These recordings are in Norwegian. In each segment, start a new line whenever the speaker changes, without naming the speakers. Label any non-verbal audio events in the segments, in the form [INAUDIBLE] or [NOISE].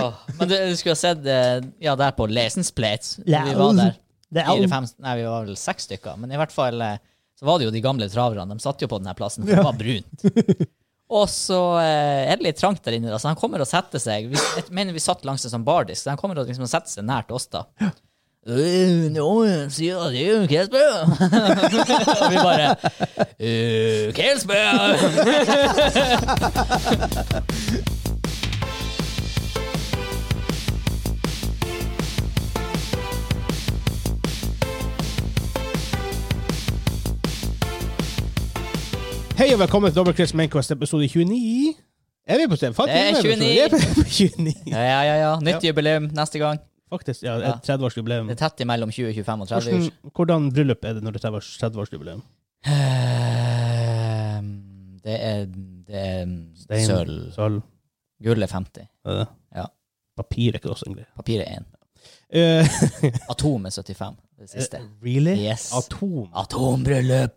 Åh, Men du, du skulle ha sett eh, ja, der på Lesens Plates.
Ja,
Vi var der
Det er
fire-fem Nei, vi var vel seks stykker. Men i hvert fall eh, så var det jo de gamle traverne. De satt jo på denne plassen, for det var brunt.
[LAUGHS]
Og så eh, er det litt trangt der inne, da, så han kommer og setter seg. Vi, jeg mener vi satt langs en sånn bardisk, så han kommer og liksom setter seg nært oss, da. «Øh, Nå sier jeg det er jo Kelsbø! [LAUGHS] og vi bare «Øh, Kelsbø!
Hei og velkommen til Dobbeltkrigs Mainquest episode 29. Er vi på sted? Faktisk,
Det er
vi på sted. Vi er på 29.
Ja, ja, ja. ja. Nytt jubileum neste gang.
Faktisk, ja. det er
Ja.
30-årsjubileum.
Det er tett imellom 20, 25 og 30
Hvordan,
år.
hvordan bryllup er det når det er 30-års- 30-årsjubileum?
Ehm, Det er, det er
Stein,
sølv.
Sølv.
Gull er 50.
Er det?
Ja.
Papir er ikke også en greie.
Papir er 1.
Eh,
Atom er 75. Det siste.
really?
Yes.
Atom.
Atombryllup!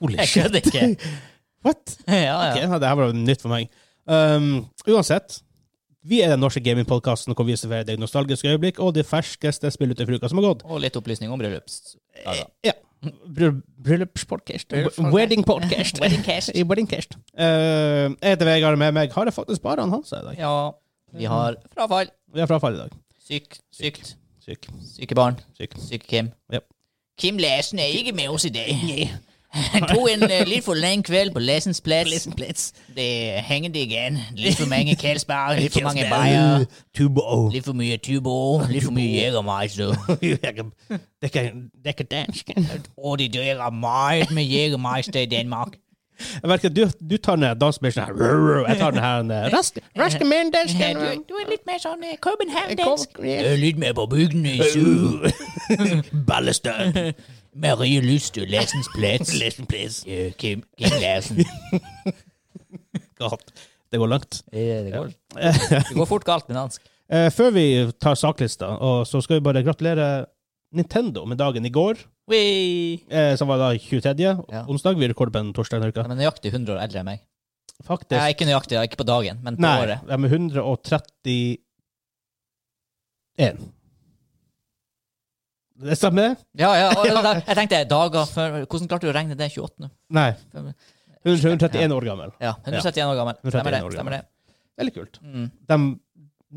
Holy
Jeg kødder [LAUGHS] ikke.
What?
ja,
Ok,
ja.
ja, det her var nytt for meg. Um, uansett, vi er den norske gamingpodkasten hvor vi serverer deg nostalgiske øyeblikk og de ferskeste spillene til uka som har gått.
Og litt opplysning om bryllups. Ja, da.
Ja. Bryll- Bryllupspodcast.
Bryllupspodcast. [LAUGHS]
Weddingpodcast.
Weddingcast.
I Weddingcast. Eh, jeg heter Vegard, med meg har jeg faktisk bare han Hansa i dag.
ja. Vi har frafall.
Vi har frafall i dag.
Syk, sykt.
Syk.
Syke barn.
Syk.
Syke Kim.
Ja.
Kim Lesen er ikke med oss i dag. [LAUGHS] Han tok en eh, litt for lang kveld på Lesens plass. Det hengte igjen. Litt for mange Kelsberg, litt for mange Bayer.
Tubo.
Litt for mye tubo, litt for mye jegermeister.
[LAUGHS] det er ikke- det er ikke dansk.
Og de drikker meget med jegermeister i Danmark.
Jeg merker at du, du tar den dansemisjonen sånn her. Jeg tar den her. den,
[LAUGHS]
Raske, raske menn, dansk.
Ja, du, du er litt mer sånn eh, København-dansk.
Kom, ja.
Jeg er litt mer Øh, på bygdene i syd. [LAUGHS]
Ballestøv.
Marie Lyst, Lessens plass. [LAUGHS] Ja, Øh, Kim, Kim [LAUGHS] Larsen.
Galt. Det går langt.
Det går, [LAUGHS] fort galt med dansk.
Eh, før vi tar saklista, og så skal vi bare gratulere Nintendo med dagen i går.
Wee.
eh, som var da 23.
Ja.
onsdag. Vi rekorder på en torsdag denne uka.
De er nøyaktig 100 år eldre enn meg.
Faktisk.
Jeg er ikke nøyaktig, ikke på dagen, men på
Nei,
året.
de er 131. Det stemmer det?
Ja, [LAUGHS] ja, og, Jeg tenkte dager før Hvordan klarte du å regne det? 28? nå?
Nei. 131 år gammel.
Ja, 171 år gammel.
171
Stemmer det.
år gammel.
Stemmer det.
Veldig kult.
Mm.
De,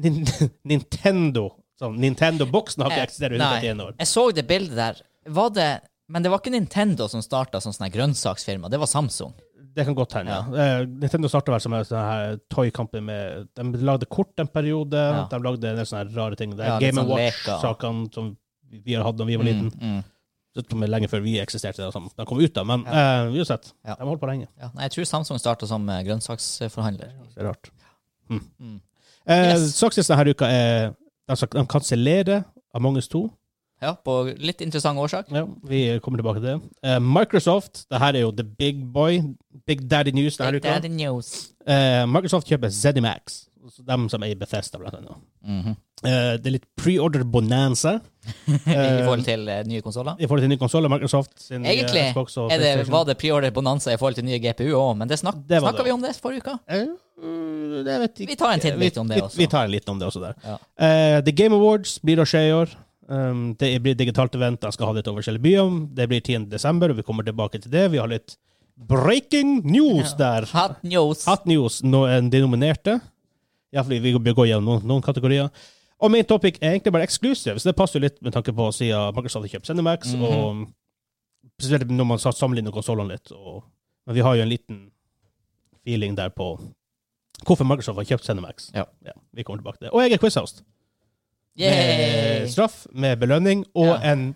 nin, [LAUGHS] Nintendo sånn, Nintendo-boksen har ikke
Eh,
eksistert i
nei.
131 år.
Jeg så det bildet der. Var det Men det var ikke Nintendo som starta som sånn her grønnsaksfirma. Det var Samsung.
Det kan godt hende. Eh, Nintendo starta vel som en sånn her toy-kampen med De lagde kort en periode,
Ja.
de lagde en del sånne her rare ting. Det er
Ja, litt
Game
sånn
Watch-sakene som vi har hatt da vi var liten.
Mm.
Det kom lenge før vi eksisterte, da, som de kom ut da. Men eh, uansett,
Ja.
de har holdt på lenge.
Ja, nei, jeg tror Samsung starta som eh, grønnsaksforhandler.
Det er rart. Mm.
Mm.
Eh,
Yes.
Sakslisten denne uka er de skal- De kansellerer Among us 2.
Ja, på litt interessant årsak.
Ja, vi kommer tilbake til det. Eh, Microsoft, det her er jo the big boy, big daddy news denne
Det er
uka.
the news.
Eh, Microsoft kjøper ZeniMax, altså dem som er i Bethesda, blant annet.
Mhm.
Eh, det er litt pre-order bonanza
[LAUGHS] I
eh,
forhold til eh, nye konsoller.
i forhold til nye konsoller, Microsoft sin nye
Egentlig
Xbox og
Er det,
PlayStation.
var det priorder bonanza i forhold til nye GPU òg, men det snak,
Det var
snakka
det.
vi om det forrige uka.
Eh, mm, det vet jeg
Vi tar en
ikke.
tidbit
Vi-
om det
vi-
også.
Vi tar en liten om det også der.
Ja.
Eh, The Game Awards blir å skje i år. Um, det blir digitalt event. Jeg skal ha litt over forskjellige byer. Det blir 10. desember, og vi kommer tilbake til det. Vi har litt breaking news der.
Hot news.
Hot news nå er de nominerte. Ja, fordi vi bør gå gjennom noen, noen kategorier. Og main topic er egentlig bare exclusive, så det passer jo litt med tanke på siden Microsoft har kjøpt Cinemax,
Mhm.
og spesielt når man sa- sammenligner konsollene litt. Og, men vi har jo en liten feeling der på hvorfor Microsoft har kjøpt Cinemax.
Ja.
vi kommer tilbake til det. Og jeg er quizhost.
Yay!
Med straff, med belønning, og
Ja.
en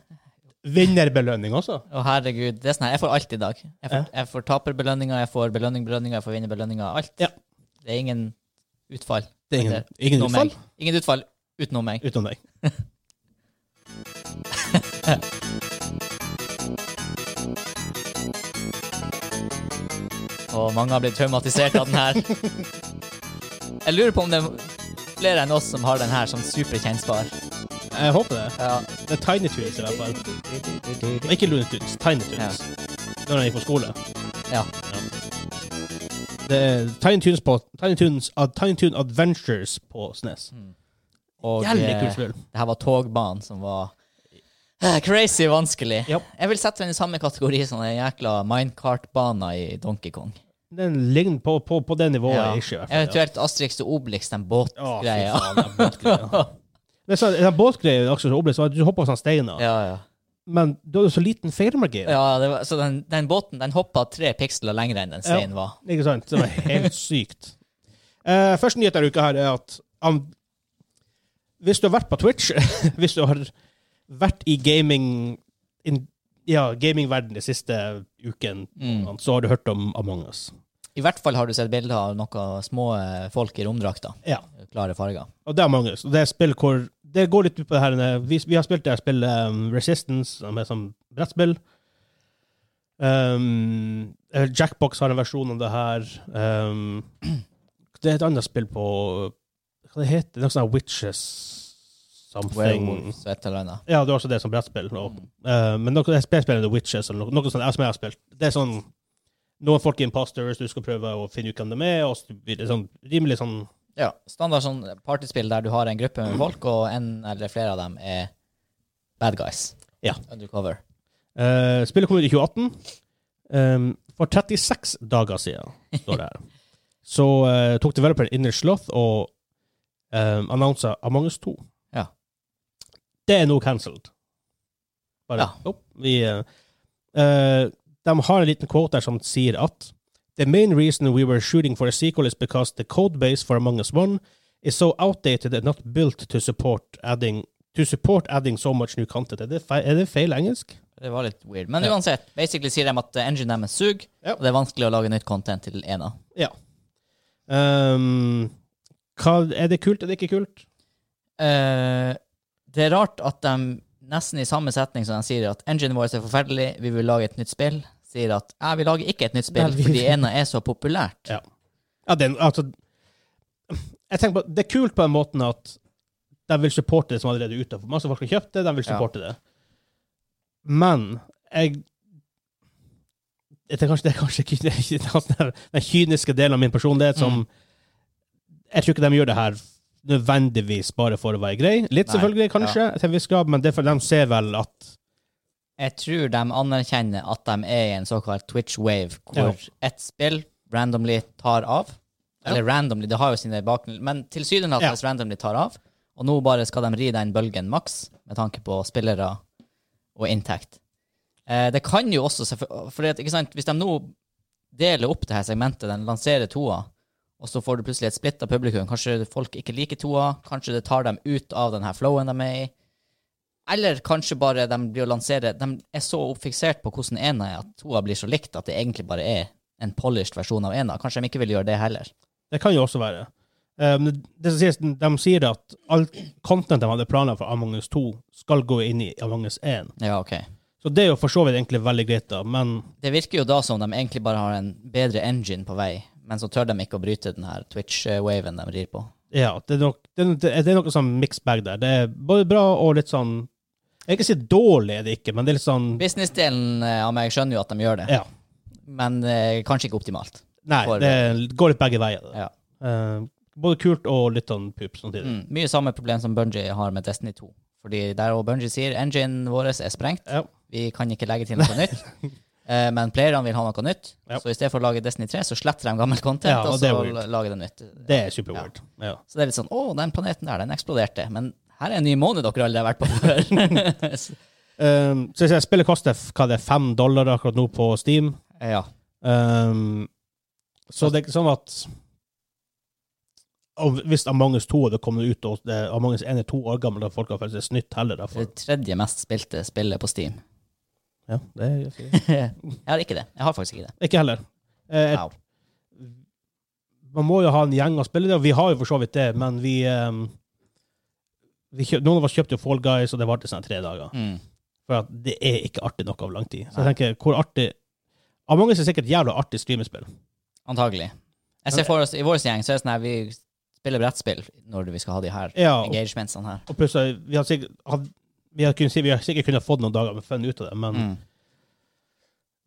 vinnerbeløning også.
Å, herregud. Det er sånn her. Jeg får alt i dag. Jeg får,
Eh?
jeg får taperbelønninger, jeg får belønning, belønninger, jeg får vinnerbelønninger. Alt.
Ja.
Det er ingen utfall.
Det er ingen,
Det-
ingen
utenom
utfall
Meg. Ingen utfall utenom meg.
utenom deg.
Og mange har blitt traumatisert av den
[LAUGHS]
her. Jeg lurer på om det er flere enn oss som har den her som superkjennbar.
Jeg håper det.
Ja.
Det er Tiny Tunes i hvert fall. Ikke Looney Tunes, Tiny Tunes. Når jeg gikk på skole.
ja.
Det er Tiny Tunes, på, Tiny Tunes, Ad- Tiny Tune Adventures på SNES.
Og
Mm. Jævlig
eh,
kult spill.
det her var togbanen som var eh, crazy vanskelig.
Ja.
Jeg vil sette den i samme kategori som den jækla minecart-bana i Donkey Kong.
Den ligner på, på, på det nivået.
Ja.
Ikke, i hvert fall,
Eventuelt Asterix og Obelix, den
Å, fy
båtgreia.
faen, den [LAUGHS] båtgreia. Det er sånn, den båtgreia er også så opplevd, så at du hopper på sånne steiner,
Ja, ja.
men da er det så liten feilmargin.
ja det var, så den, den båten den hoppa tre piksler lenger enn den steinen var.
Ikke sant? Det var helt sykt. Eh, første nyhet denne uka her er at um, hvis du har vært på Twitch, [LAUGHS] hvis du har vært i gaming in, ja, gamingverden de siste uken,
Mm.
så har du hørt om Among us.
I hvert fall har du sett bilder av noen små eh, folk i romdrakter.
Ja.
Klare farger.
Og det er Among us. Og Det er et spill hvor Det går litt ut på det her eh, Vi, vi har spilt det her spillet um, Resistance, som er sånn brettspill. Um, eh, Jackbox har en versjon av det her. Um, det er et annet spill på Hva det heter det? Noe sånt her Witches something.
Werewolves og et eller annet.
Ja, det er også det som brettspill. Og, eh, men noe, det spillet spiller The Witches, eller noe, noe sånt jeg som jeg har spilt. Det er sånn Noen folk er imposters, du skal prøve å finne ut hvem de er, og så blir det sånn rimelig sånn
Ja, Standard sånn partyspill der du har en gruppe med folk, og en eller flere av dem er bad guys.
Ja.
Undercover.
Eh, spillet kom ut i 2018. Ehm, for 36 dager siden, står
[LAUGHS]
det her. Så eh, tok developeren Inner Sloth og um, annonsa Among us 2.
Ja.
Det er nå cancelled. Bare
Ja.
opp. Vi, eh, eh, de har en liten quote der som sier at The main reason we were shooting for a sequel is because the code base for Among Us 1 is so outdated and not built to support adding, to support adding so much new content. Er det feil, er det feil engelsk?
Det var litt weird. Men
Ja.
uansett, basically sier de at eh, engine deres suger,
Ja.
og det er vanskelig å lage nytt content til ena.
Ja. Ehm, hva, er det kult, er det ikke kult?
Eh, det er rart at de nesten i samme setning som de sier at engine vår er forferdelig, vi vil lage et nytt spill, sier at ja, vi lager ikke et nytt spill
Nei, vi-
fordi ena er så populært.
Ja. Ja, det, er- altså, jeg tenker på, det er kult på den måten at de vil supporte det som allerede er ute. For Masse folk har kjøpt det, de vil
Ja.
supporte det. Men jeg jeg tenker kanskje Det er kanskje ikke det er ikke den- den, den kyniske delen av min personlighet som
Mm.
Jeg tror ikke de gjør det her nødvendigvis bare for å være grei. Litt
Nei.
selvfølgelig, kanskje, til en viss grad, men det er for de ser vel at
Jeg tror de anerkjenner at de er i en såkalt Twitch wave, hvor ett spill randomly tar av. Eller randomly, det har jo sine bakgrunn, men tilsynelatende randomly tar av. Og nå bare skal de ri den bølgen maks, med tanke på spillere og inntekt. Eh, det kan jo også For ikke sant, hvis de nå deler opp det her segmentet, den lanserer toa, og så får du plutselig et splitta publikum, kanskje folk ikke liker toa, kanskje det tar dem ut av den her flowen de er i. Eller kanskje bare de blir å lansere De er så oppfiksert på hvordan ena er, at toa blir så likt at det egentlig bare er en polished versjon av ena. Kanskje de ikke vil gjøre det heller.
Det kan jo også være. Um, det- det som sies, de sier at alt content de hadde planer for Among us 2, skal gå inn i Among us 1.
Ja, ok.
Så det er jo for så vidt egentlig veldig greit, da, men
Det virker jo da som de egentlig bare har en bedre engine på vei, men så tør de ikke å bryte den her Twitch-waven de rir på.
ja, det er, nok, det er, det er noe sånn mixed bag der. Det er både bra og litt sånn Jeg vil ikke si dårlig, er det ikke, men det er litt sånn
Businessdelen eh, av meg skjønner jo at de gjør det,
Ja.
men eh, kanskje ikke optimalt.
Nei,
For-
det går litt begge veier. da.
Ja.
Uh, både kult og litt sånn pup samtidig.
Mm. Mye samme problem som Bungie har med Destiny 2. Fordi der og Bungie sier enginen vår er sprengt,
Ja.
vi kan ikke legge til
[LAUGHS]
noe nytt. Eh, Men playerne vil ha noe nytt,
Ja.
så i stedet for å lage Destiny 3, så sletter de gammelt content,
Ja, og
og
det er
så
weird.
lager de nytt.
Det er superweird. Ja.
Så det er litt sånn Å, den planeten der, den eksploderte. Men her er en ny måned dere aldri har vært på
[LAUGHS]
før.
Um, så jeg sier, spillet koster hva det er, fem dollar akkurat nå på Steam.
ja.
Um, så det er ikke sånn at og Hvis Among us 2 hadde kommet ut, og det, Among us 1 er to år gammel, da folk har følt seg snytt heller. Da,
Det
for,
tredje mest spilte spillet på
[LAUGHS]
Steam.
ja, det er,
Jeg har ikke det. Jeg har faktisk ikke det.
ikke heller. Eh,
Wow.
man må jo ha en gjeng å spille det, og vi har jo for så vidt det, men vi, um, vi kjøp, Noen av oss kjøpte jo Fall Guys, og det varte sånn tre dager.
Mm.
For at det er ikke artig nok av lang tid. Så jeg
Nei.
tenker, hvor artig Among us er sikkert et jævla artig streamespill.
Antagelig. Jeg ser for oss, I vår gjeng så er det sånn her vi spiller brettspill når vi skal ha de her
Ja, og
engagementsene her.
Og plutselig, vi har sikkert, hadde- vi har kunnet si, vi har sikkert kunnet fått noen dager med fun ut av det, men
Mm.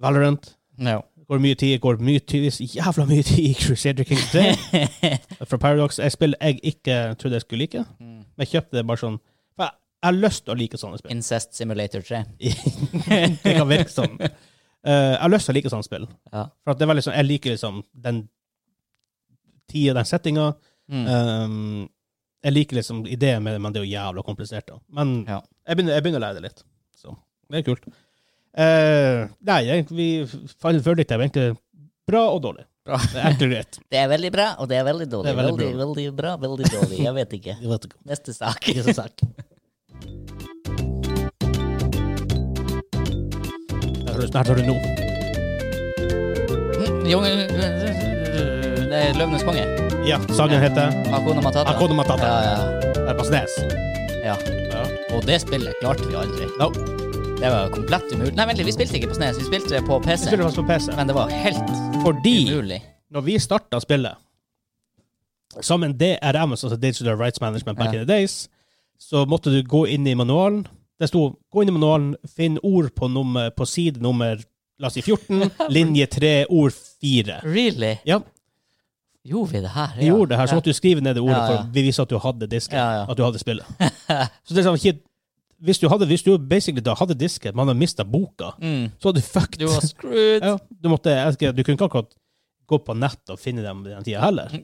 Valorant
Ja.
går mye tid, går mye tid, jævla mye tid i Crusader Kings 3 fra Paradox. Et spill jeg ikke trodde jeg skulle like.
Mm.
Men jeg kjøpte det bare sånn For jeg, jeg har lyst til å
[LAUGHS]
like sånne spill.
Incest Simulator 3.
det kan virke sånn. Eh, jeg har lyst til å like sånne spill.
Ja.
For at det er veldig sånn, jeg liker liksom den tida, den settinga.
Mm.
Um, jeg liker liksom ideen med det, men det er jo jævla komplisert. da. Men
Ja.
jeg, begynner, jeg begynner å lære det litt. Så det er kult. Eh, nei, jeg- vi Final Verdict er jo egentlig bra og dårlig.
Bra.
Det er egentlig greit.
Det er veldig bra, og det er veldig dårlig.
Det er veldig
veldig, veldig bra, veldig dårlig. Jeg vet [LAUGHS] ikke.
Jeg vet ikke.
Neste sak.
Ikke så sterk. Her har du- her tar du nå.
Mm, Jungen Det er Løvenes konge.
Ja, sangen heter
Hakuna Matata.
Hakuna Matata.
Ja, ja.
Det er på SNES.
ja.
Ja.
Og det spillet klarte vi aldri.
No.
Det var komplett umulig. Nei, vent litt, vi spilte ikke på SNES, vi spilte det på
Jeg
PC.
spiller faktisk på PC.
Men det var helt
Fordi
umulig.
når vi starta spillet som en DRM, altså Digital Rights Management back
Ja.
in the days, så måtte du gå inn i manualen. Det sto 'gå inn i manualen, finn ord på, nummer, på side nummer la oss si
[LAUGHS]
14, linje 3, ord 4'.
Really?
Ja,
Gjorde vi det her?
vi gjorde det her, så måtte du skrive ned det ordet
Ja, ja.
for å vise at du hadde disken.
Ja, ja.
At du hadde spillet.
[LAUGHS]
så det er sånn, ikke- hvis du hadde, hvis du basically da hadde disken, man hadde mista boka,
Mm.
så hadde du fucked.
Du
[LAUGHS]
var screwed.
ja, du, måtte, jeg, husker, du kunne ikke akkurat gå på nett og finne dem i den tida heller.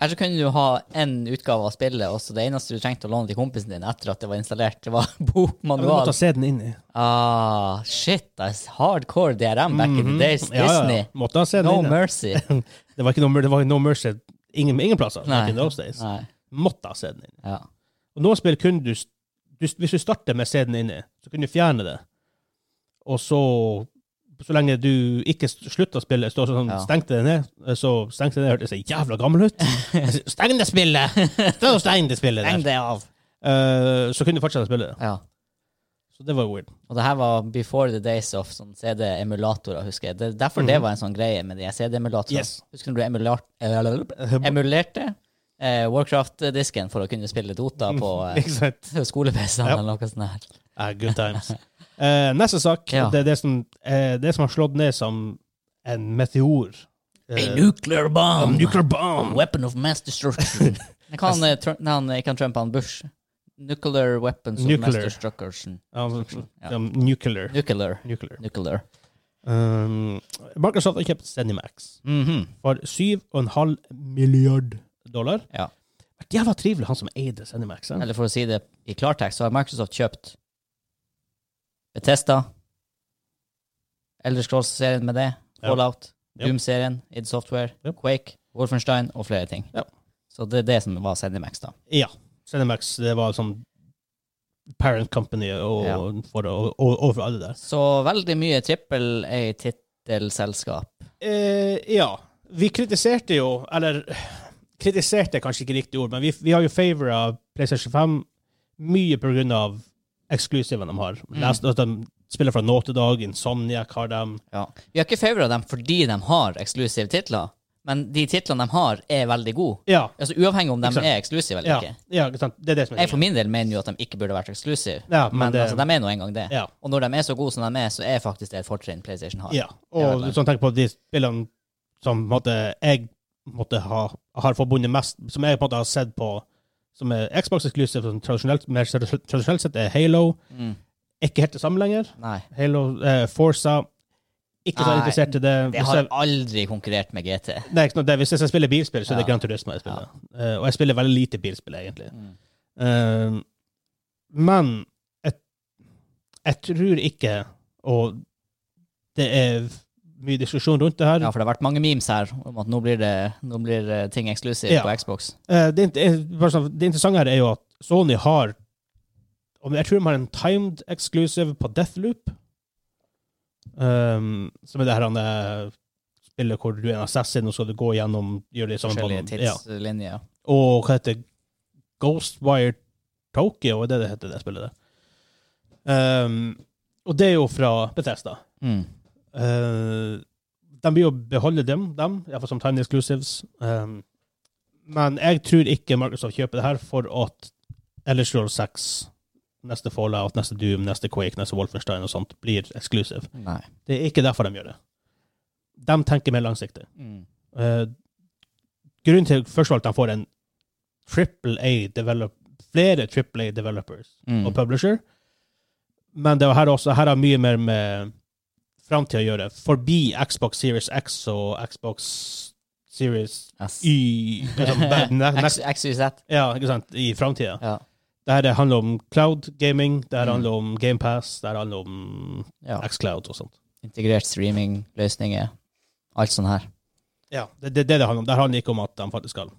Eller så kunne du ha én utgave av spillet, og så det eneste du trengte å låne til kompisen din etter at det var installert, det var [LAUGHS]
Ja, men du måtte
bokmanual.
se den inn i.
Ah, shit, that's hardcore DRM back in the days.
Ja, ja,
Disney.
ja. Måtte ha sett den
No
inne. [LAUGHS]
mercy.
Det var ikke no, Mhm. mer- det var no mercy ingen, ingen plasser.
Nei.
back in those days.
Nei.
Måtte ha sett den inne.
Ja.
Og noen spill kunne du, s- du s- Hvis du starter med se den inne, så kunne du fjerne det. Og så Så lenge du ikke s- slutta spillet, så sånn,
Ja.
stengte det ned, så stengte det ned hørtes så jævla gammel
[LAUGHS]
ut. Steng det spillet! Stå og Steng det spillet
Steng
der.
det av.
Eh, så kunne du fortsette å spille det.
Ja.
Så det var jo weird.
Og det her var before the days of sånn CD-emulatorer, husker jeg. Det, derfor det var en sånn greie med de her CD-emulatorene.
Mhm. Yes.
Husker du du emulat, eh, emulerte eh, Warcraft-disken for å kunne spille Dota på
[LAUGHS]
eh,
Ikke
[LAUGHS]
sant?
skole-PC-en
Mhm. Ja.
eller noe sånt her?
Ah, good times. Eh, neste sak.
Ja.
Det er det som, eh, det som har slått ned som en meteor. Eh,
nuclear
a
bomb!
nuclear bomb!
Weapon of mass destruction. [LAUGHS] Jeg kan, eh, Trump, nei, han, jeg kan Trump han Bush. Nuclear weapons of
Nuclear.
mass destruction.
Um,
Ja.
um, nuclear.
Nuclear.
nuclear.
Nuclear.
Um, Microsoft har kjøpt Zenimax
Mhm.
for 7,5 milliard dollar.
Ja.
Vært Jævla trivelig, han som eide Zenimax. eh?
Eller for å si det i klartekst, så har Microsoft kjøpt Bethesda, Elder Scrolls-serien med det,
Ja.
Fallout,
Ja.
Doom-serien, id Software,
Ja.
Quake, Wolfenstein og flere ting.
Ja.
Så det er det som var Zenimax, da.
Ja. Zenimax det var sånn parent company og,
Ja.
for, og, og, og for alle der.
Så veldig mye trippel A-tittelselskap.
Eh, ja. Vi kritiserte jo, eller Kritiserte er kanskje ikke riktig ord, men vi, vi har jo favora PlayStation 5 mye pga. eksklusivene de har.
Mm.
Last, at de spiller fra nå til dag, Insomniac har dem.
Ja. Vi har ikke favora dem fordi de har eksklusive titler, men de titlene de har, er veldig gode.
Ja.
Altså Uavhengig om de
Ikke sant.
er eksklusive eller
Ja,
ikke.
ja ikke sant? Det er det som er
Jeg for min del mener jo at de ikke burde vært eksklusive,
Ja, men
men,
det-
altså, de er nå engang det.
Ja.
Og når de er så gode som de er, så er faktisk det et fortrinn PlayStation har.
Ja.
Det er
Og
veldig.
sånn tenk på de spillene som måtte, jeg måtte ha, har forbundet mest Som jeg på en måte har sett på som er Xbox-eksklusiv, som tradisjonelt, mer tradisjonelt sett er Halo.
Mm.
Ikke helt det samme lenger.
Nei.
Halo, eh, Forza Ikke så
Nei,
interessert i
Det
det. Hvis
har
jeg,
aldri konkurrert med GT.
nei, ikke noe, det, hvis jeg spiller bilspill, så er det
Ja.
Gran Turismo jeg spiller. Eh, og jeg spiller veldig lite bilspill, egentlig.
Mm.
Eh, men jeg, jeg tror ikke Og det er mye diskusjon rundt det her.
Ja, for det har vært mange memes her om at nå blir, det, nå blir eh, ting eksklusive
Ja.
på Xbox.
Eh, det, det, bare sånn, det interessante her er jo at Sony har om- Jeg tror de har en timed exclusive på Deathloop. Um, som er det her han eh, spillet hvor du er en assassin, og så skal du gå gjennom gjøre det samme
Forskjellige
Ja.
tidslinjer.
Og hva heter det? Ghostwire Tokyo, er det det heter, det spillet der? Um, og det er jo fra Bethesda.
Mm.
Eh, de blir jo beholde dem, dem iallfall som time exclusives. Um, men jeg tror ikke Microsoft kjøper det her for at Ellers Roll 6, neste Fallout, neste Doom, neste Quake, neste Wolfenstein og sånt blir exclusive.
Nei.
Det er ikke derfor de gjør det. De tenker mer langsiktig.
Mm.
Eh, grunnen til først og fremst at de får en triple A develop, flere AAA developers
Mm.
og publisher. Men det er jo her også, her har mye mer med framtida å gjøre. Forbi Xbox Series X og Xbox Series
Yes.
Y
[LAUGHS]
liksom, bad- ne- ne-
X- XYZ.
Ja, ikke sant? I framtida.
Ja.
Dette handler om cloud gaming, det her
Mm.
handler om GamePass, det her handler om
ja.
Xcloud og sånt.
Integrert streamingløsninger. Alt sånt her.
Ja, det er det, det det handler om. Det her handler ikke om at de faktisk skal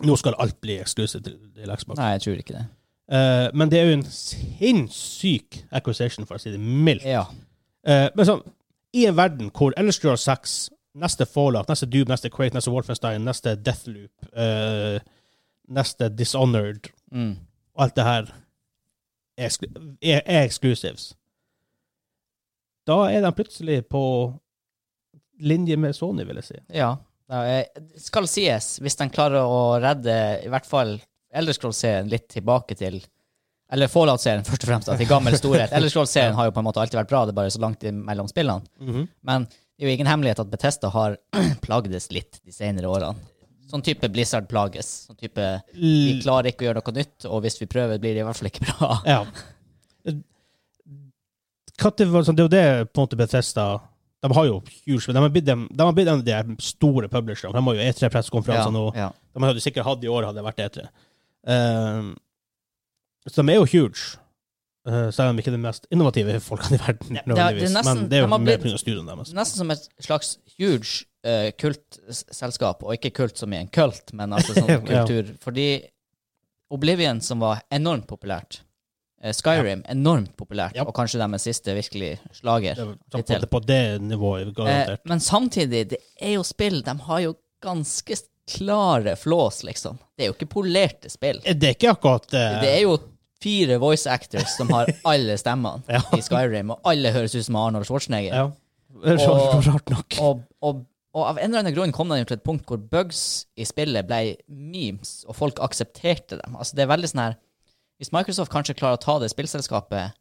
Nå skal alt bli eksklusivt til, til Xbox.
Nei, jeg tror ikke det.
Eh, men det er jo en sinnssyk acquisition, for å si det mildt.
Ja.
Eh, men sånn, i en verden hvor Elstreur 6, neste Fallout, neste Dube, neste Quake, neste Wolfenstein, neste Deathloop, eh, neste Dishonored
Mm.
alt det her er, eksklu- er, er exclusives. Da er de plutselig på linje med Sony, vil jeg si.
Ja. Ja, eh, det skal sies, hvis de klarer å redde i hvert fall Elderscroll-serien litt tilbake til Eller Fallout-serien, først og fremst, at til gammel
[LAUGHS]
storhet. Elderscroll-serien har jo på en måte alltid vært bra, det er bare så langt mellom spillene. Men det er jo ingen hemmelighet at Bethesda har [CLEARS THROAT] plagdes litt de senere årene. Sånn type Blizzard plages. Sånn type Vi
L-
klarer ikke å gjøre noe nytt, og hvis vi prøver, blir det i hvert fall ikke bra.
Ja. Katte, det er jo det på en måte Bethesda De har jo huge men De har blitt, de, de har blitt en av de store publisherne. De har jo E3-pressekonferanser nå.
ja.
De hadde sikkert hatt i år, hadde det vært E3. Eh, så de er jo huge. Eh, selv om de ikke er de mest innovative folkene i verden.
det er- det er
nødvendigvis.
nesten-
men det er
de
jo
har
mer
blitt-
pga. studioen deres.
Nesten som et slags huge eh, kultselskap, og ikke kult som i en kult, men
[LAUGHS]
altså sånn
Ja.
kultur. Fordi Oblivion, som var enormt populært, eh, Skyrim, enormt populært,
Ja.
og kanskje deres siste virkelig slager.
Det er sånn
Hittil.
på, på det nivået,
Eh,
garantert.
men samtidig, det er jo spill. De har jo ganske klare flås, liksom. Det er jo ikke polerte spill.
det er ikke akkurat eh,
Det er jo fire voice actors som
[LAUGHS]
har alle stemmene
Ja.
i Skyrim, og alle høres ut som Arnold Schwarzenegger.
ja. Det er så
Og-
[LAUGHS] rart nok.
Og, og, og av en eller annen grunn kom den jo til et punkt hvor bugs i spillet ble memes, og folk aksepterte dem. Altså det er veldig sånn her Hvis Microsoft kanskje klarer å ta det spillselskapet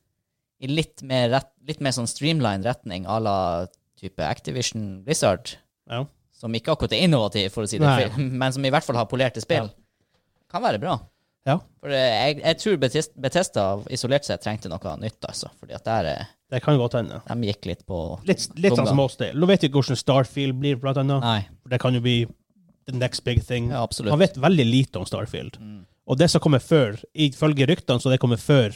i litt mer, rett, litt mer sånn streamlined retning à la type Activision Blizzard,
Ja.
som ikke akkurat er innovativ, for å si det
Nei.
fri- men som i hvert fall har polerte spill, kan være bra.
Ja.
For eh, jeg, jeg tror Betis- Bethesda isolert sett trengte noe nytt, altså. Fordi at der eh,
Det kan godt hende.
De gikk litt på
Litt, litt sånn
Tunga.
som oss. det. Nå vet vi ikke hvordan Starfield blir, blant annet.
Nei.
Det kan jo bli the next big thing.
Ja, absolutt.
Man vet veldig lite om Starfield. Og det som kommer før, ifølge ryktene, så det kommer før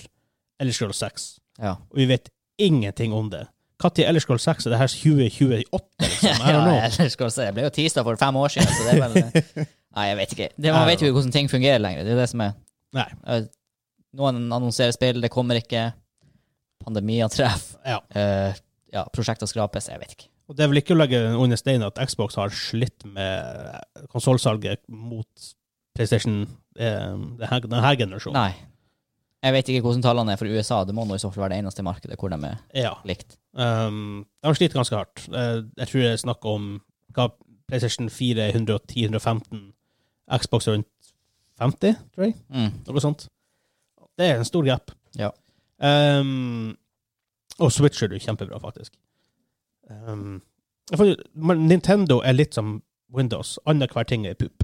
Ellis Girl 6.
Ja.
Og vi vet ingenting om det. Når Ellis Girl 6 er det her 2028? Liksom. I
Ja,
don't know.
eller skal jeg si, jeg ble jo teasa for fem år siden, så det er vel Nei, jeg vet ikke. Det, man vet jo ikke hvordan ting fungerer lenger. Det er det som er
Nei.
eh, Noen annonserer spill, det kommer ikke. Pandemier treffer.
Ja.
eh, ja, prosjekter skrapes. Jeg vet ikke.
Og det er vel ikke å legge under steinen at Xbox har slitt med konsollsalget mot PlayStation eh, det her- denne generasjonen.
Nei. Jeg vet ikke hvordan tallene er for USA. Det må nå i så fall være det eneste markedet hvor de er
Ja.
likt.
Um, de har slitt ganske hardt. Eh, jeg tror det er snakk om hva PlayStation 4 er 110-115, Xbox rundt 50, tror jeg.
Mm. [LAUGHS]
Noe sånt. Det er en stor gap.
Ja.
Um, og Switch er du kjempebra, faktisk. Um, jeg får- men Nintendo er litt som Windows. Annenhver ting er pup.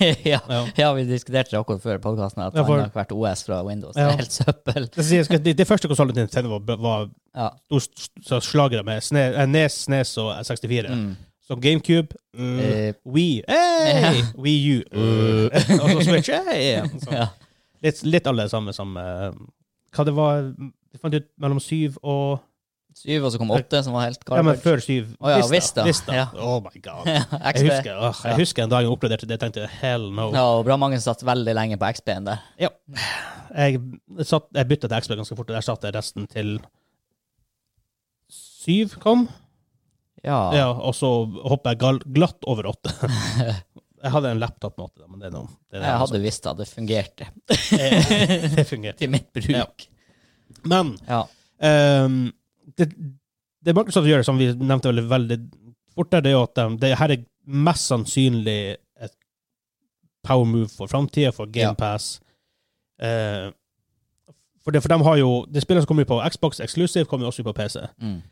ja.
Ja.
ja, vi diskuterte det akkurat før podkasten, at
Ja, for-
annethvert OS fra Windows
Ja.
er helt søppel.
Det, sier jeg skal- det, det første konsollen til Nintendo var, var
Ja.
to s- s- slagere med Sne, eh, Nes, Snes og 64.
Mm.
Så GameCube mm,
Eh.
Wii hey!
[LAUGHS]
Wii U.
Eh.
eh, [LAUGHS] og så Switch. Hey!
[LAUGHS]
Så,
Ja.
litt, litt alle det samme som eh, Hva det var Vi fant ut mellom syv og
Syv, og så kom åtte, som var helt
Ja, men
garbage.
før syv.
Å ja, Vista. Ja.
Oh
[LAUGHS]
my god.
Ja,
Jeg
XP.
husker, åh, jeg
Ja.
husker en dag jeg oppgraderte det. Jeg tenkte hell no.
Ja, og bra mange satt veldig lenge på XP-en der.
Jeg, satt, jeg bytta til XB ganske fort, og der satt jeg resten til syv kom.
Ja.
Ja, og så hopper jeg gal- glatt over
[LAUGHS]
åtte. jeg hadde en laptop med åtte, da, men det er noe. Det, er noe
Jeg hadde visst at det fungerte
som- det fungerte.
[LAUGHS] til mitt bruk.
Ja.
Ja.
Men ehm, det, det Microsoft gjør, som vi nevnte veldig, veldig fort, der, det er jo at de, det her er mest sannsynlig et power move for framtida, for
Ja.
GamePass. Uh, for, det- for de har jo Det spillet som kommer ut på Xbox Exclusive, kommer jo også ut på PC.
Mm.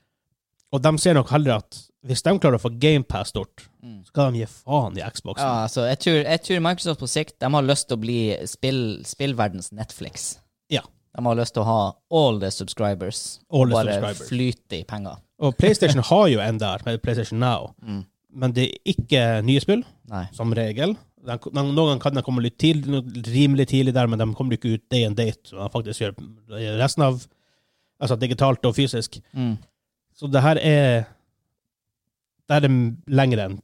Og de ser nok heller at hvis de klarer å få GamePass stort,
Mm.
så kan de gi faen i Xboxen.
Ja, altså, jeg, tror, jeg tror Microsoft på sikt de har lyst til å bli spill, spillverdens Netflix.
Ja.
De har lyst til å ha all the subscribers.
All the
bare
subscribers.
flyte i penger.
Og PlayStation har jo en der, med PlayStation Now.
Mm.
Men det er ikke nye spill,
Nei.
som regel. De, de, noen ganger kan de komme litt tidlig, no- rimelig tidlig der, men de kommer ikke ut day and date, som de faktisk gjør resten av Altså digitalt og fysisk.
Mm.
Så det her er Det her er lengre enn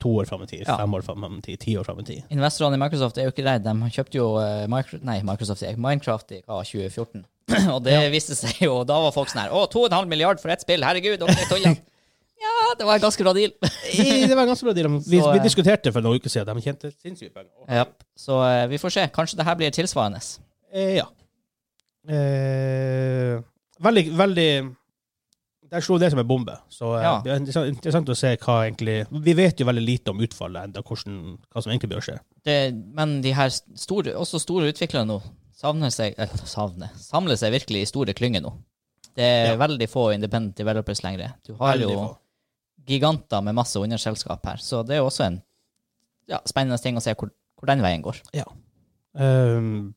to år fram i tid,
Ja.
fem år fram i tid, ti år fram i
[LAUGHS]
tid.
Investorene i Microsoft er jo ikke redde. De kjøpte jo eh, Micro, nei, Microsoft, sier jeg, Minecraft i hva, 2014. [LAUGHS] og det viste seg jo, da var folk sånn her Å, 2,5 milliard for ett spill, herregud, dere tuller. [LAUGHS] ja, det var en ganske bra deal.
I- Det var en ganske bra deal. De- Vi,
Så,
vi
eh,
diskuterte for noen uker siden. De tjente sinnssykt penger. Og-
[LAUGHS] Ja, Så eh, vi får se. Kanskje det her blir tilsvarende.
Eh, ja. Eh, veldig, veldig Der slo det som en bombe. Så eh,
Ja.
det er interessant- interessant å se hva egentlig Vi vet jo veldig lite om utfallet enda, hvordan, hva som egentlig bør skje.
Det, men de her store, også store utviklere nå savner seg eh, savner, samler seg virkelig i store klynger nå. Det er
Ja.
veldig få independent developers lenger. Du har
Veldig
jo
få.
giganter med masse underselskap her, så det er jo også en ja, spennende ting å se hvor, hvor den veien går.
Ehm,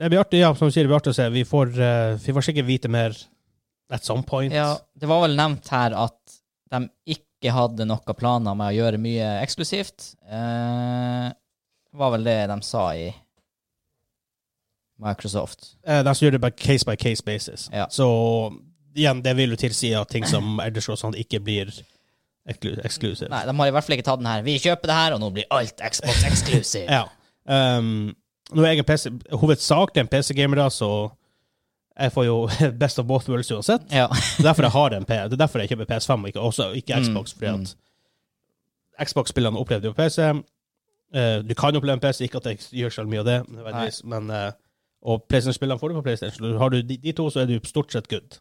det blir artig, ja, som du sier, det blir artig å se. Vi får, eh, vi får sikkert vite mer at some point.
Ja, det var vel nevnt her at de ikke hadde noen planer med å gjøre mye eksklusivt. Eh, var vel det de sa i Microsoft.
Eh, de gjør det på case by case basis.
Ja.
Så igjen, det vil jo tilsi at ting som Elders og sånn ikke blir eklu- eksklusivt.
Nei, de har i hvert fall ikke tatt den her. Vi kjøper det her, og nå blir alt Xbox
[LAUGHS]
eksklusivt.
Ja. Um, nå er jeg en PC, hovedsakelig en PC-gamer, da, så jeg får jo [LAUGHS] best of both worlds uansett.
ja.
Det er derfor jeg har en P det er derfor jeg kjøper PS5, og ikke, også, ikke
Mm,
Xbox. Fordi at Xbox-spillene opplevde jo PC. Eh, du kan oppleve en PC, ikke at jeg gjør så mye av det, nødvendigvis, men eh, og PlayStation-spillene får du på PlayStation. Så Har du de, de to, så er du stort sett good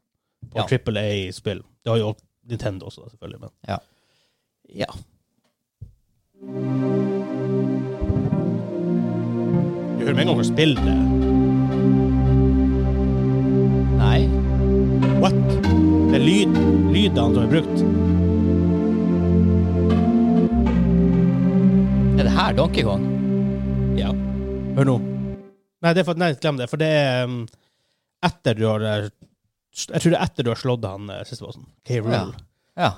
på
Ja.
Triple A-spill. Det har jo Nintendo også, da, selvfølgelig, men
Ja.
ja. Du hører med en gang hun spiller det.
Nei.
What? Det er lyd, lydene som er brukt.
Er det her Donkey Kong?
Ja. Hør nå. Nei, det er for, nei, glem det. For det er um, etter du har eh, s- Jeg tror det er etter du har slått han eh, siste bossen. K. Rool.
Ja. Ja.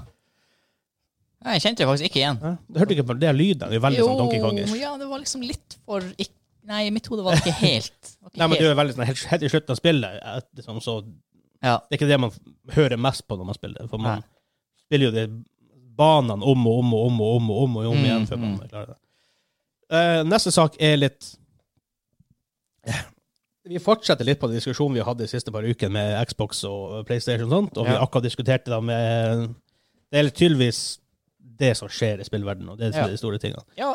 Nei, Jeg kjente det faktisk ikke igjen.
Hæ? Du hørte ikke på det er lyden? Det er veldig sånn Donkey Kong-ish.
ja, det var liksom litt for ikk- Nei, i mitt hode var det ikke helt. Det var ikke
Nei, men
helt-
du er veldig sånn helt, helt i slutten av spillet. eh, Liksom, så det
ja.
er ikke det man f- hører mest på når man spiller. For man
Nei.
spiller jo de banene om og om og om og om og om, og om
Mm,
igjen før man
mm.
klarer det. Eh, neste sak er litt Vi fortsetter litt på den diskusjonen vi hadde de siste par ukene med Xbox og PlayStation og sånt, og vi
Ja.
akkurat diskuterte det med Det er tydeligvis det som skjer i spillverdenen, og det er
Ja.
de store tingene.
Ja.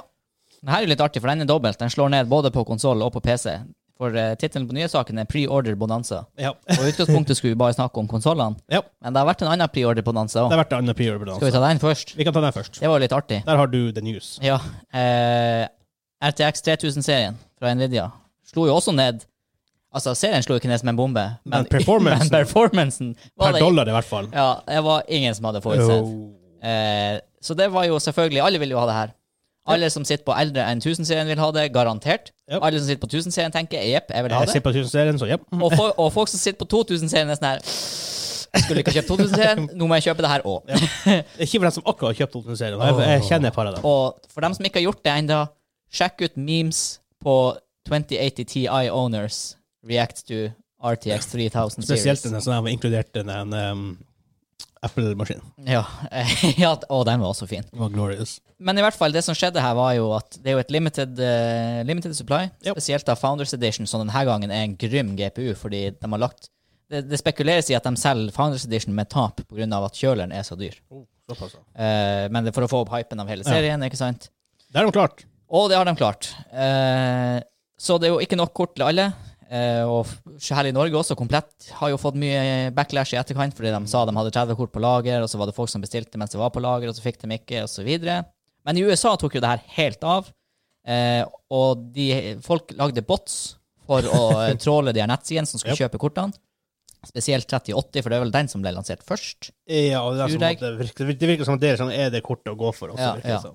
Den her er jo litt artig, for den er dobbelt. Den slår ned både på konsoll og på PC. For uh, tittelen på nyhetssaken er Pre-order bonanza.
Ja.
Og i utgangspunktet skulle vi bare snakke om konsollene,
ja.
men det har vært en annen pre-order bonanza
Det
òg.
har vært en pre order
Skal vi ta den først?
Vi kan ta den først.
Det var jo litt artig.
Der har du the news.
Ja. Eh, RTX 3000-serien fra Nvidia slo jo også ned Altså, serien slo ikke ned som en bombe,
Men performancen-
[LAUGHS] men performancen var
Per
det
dollar, Oh. i hvert fall.
Ja, det var ingen som hadde forutsett. Eh, så det var jo selvfølgelig Alle vil jo ha det her. Alle som sitter på eldre enn 1000-serien, vil ha det, garantert.
Ja.
Alle som sitter på 1000-serien, tenker jepp, jeg vil ha
Jeg
det.
ser på 1000-serien, så ja.
Og, fo- og folk som sitter på 2000-serien, er sånn her Skulle ikke ha kjøpt
[LAUGHS]
2000-serien, nå må jeg kjøpe det her òg.
Ikke for den som akkurat har kjøpt 2000-serien. og Jeg, jeg kjenner et par av dem.
Og for dem som ikke har gjort det ennå, sjekk ut memes på 2080 Ti Owners React to RTX 3000
Spesielt
Series.
den som var inkludert den um, Apple-maskinen.
Ja, [LAUGHS] ja, å, den var også fin.
Det var glorious.
Men i hvert fall, det som skjedde her, var jo at det er jo et limited, eh, limited supply.
Ja.
Spesielt av Founders Edition, som denne gangen er en grym GPU, fordi de har lagt det, det spekuleres i at de selger Founders Edition med tap pga. at kjøleren er så dyr.
Såpass, ja.
Eh, men det er for å få opp hypen av hele serien, ikke sant?
Det er de klart.
Og det har de klart. Eh, så det er jo ikke nok kort til alle. Eh, og f- her i Norge også, Komplett har jo fått mye backlash i etterkant fordi de sa de hadde 30 kort på lager, og så var det folk som bestilte mens det var på lager, og så fikk de ikke, og så videre. Men i USA tok jo det her helt av, eh, og de, folk lagde bots for å eh, tråle de her nettsidene som skulle kjøpe kortene. Spesielt 3080, for det er vel den som ble lansert først.
Ja, og det, er
Tror
som
jeg-
at det, virker, det virker som at det er, sånn, er det kortet å gå for. Også,
Ja,
virker det
ja.
som.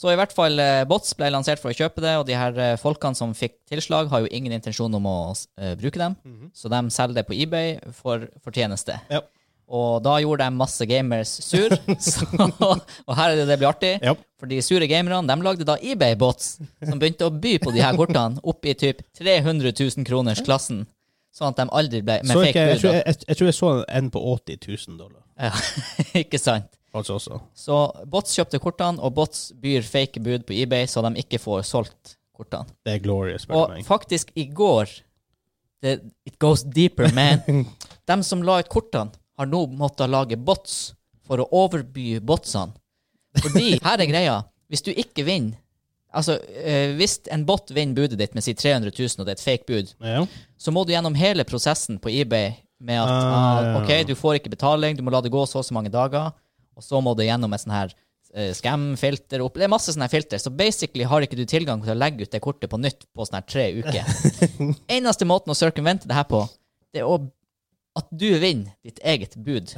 Så i hvert fall eh, bots ble lansert for å kjøpe det, og de her eh, folkene som fikk tilslag, har jo ingen intensjon om å eh, bruke dem,
Mhm.
så de selger det på eBay for fortjeneste.
Ja.
Og da gjorde de masse gamers
[LAUGHS]
sur, så, og her er det det blir artig,
Ja.
for de sure gamerne de lagde da eBay-bots som begynte å by på de her kortene opp i typ 300 000 kroners klassen, sånn at de aldri ble med
Så ikke,
fake
jeg, tror
bilder.
jeg, jeg, jeg tror jeg så en på 80 000 dollar.
Ja, [LAUGHS] ikke sant?
Altså også.
Så bots kjøpte kortene, og bots byr fake bud på eBay, så de ikke får solgt kortene.
Det er glorious. spør du
Og
meg.
faktisk i går det, It goes deeper, man. De som la ut kortene, har nå måttet lage bots for å overby botsene. Fordi, her er greia, hvis du ikke vinner Altså, eh, hvis en bot vinner budet ditt med si 300 000, og det er et fake bud,
Ja.
så må du gjennom hele prosessen på eBay med at
Ah.
ah, ok, du får ikke betaling, du må la det gå så og så mange dager, og så må du gjennom et sånn her eh, scam-filter opp. Det er masse sånne her filter, så basically har ikke du tilgang til å legge ut det kortet på nytt på sånne her tre uker. Eneste måten å circumvente det her på, det er å, at du vinner ditt eget bud.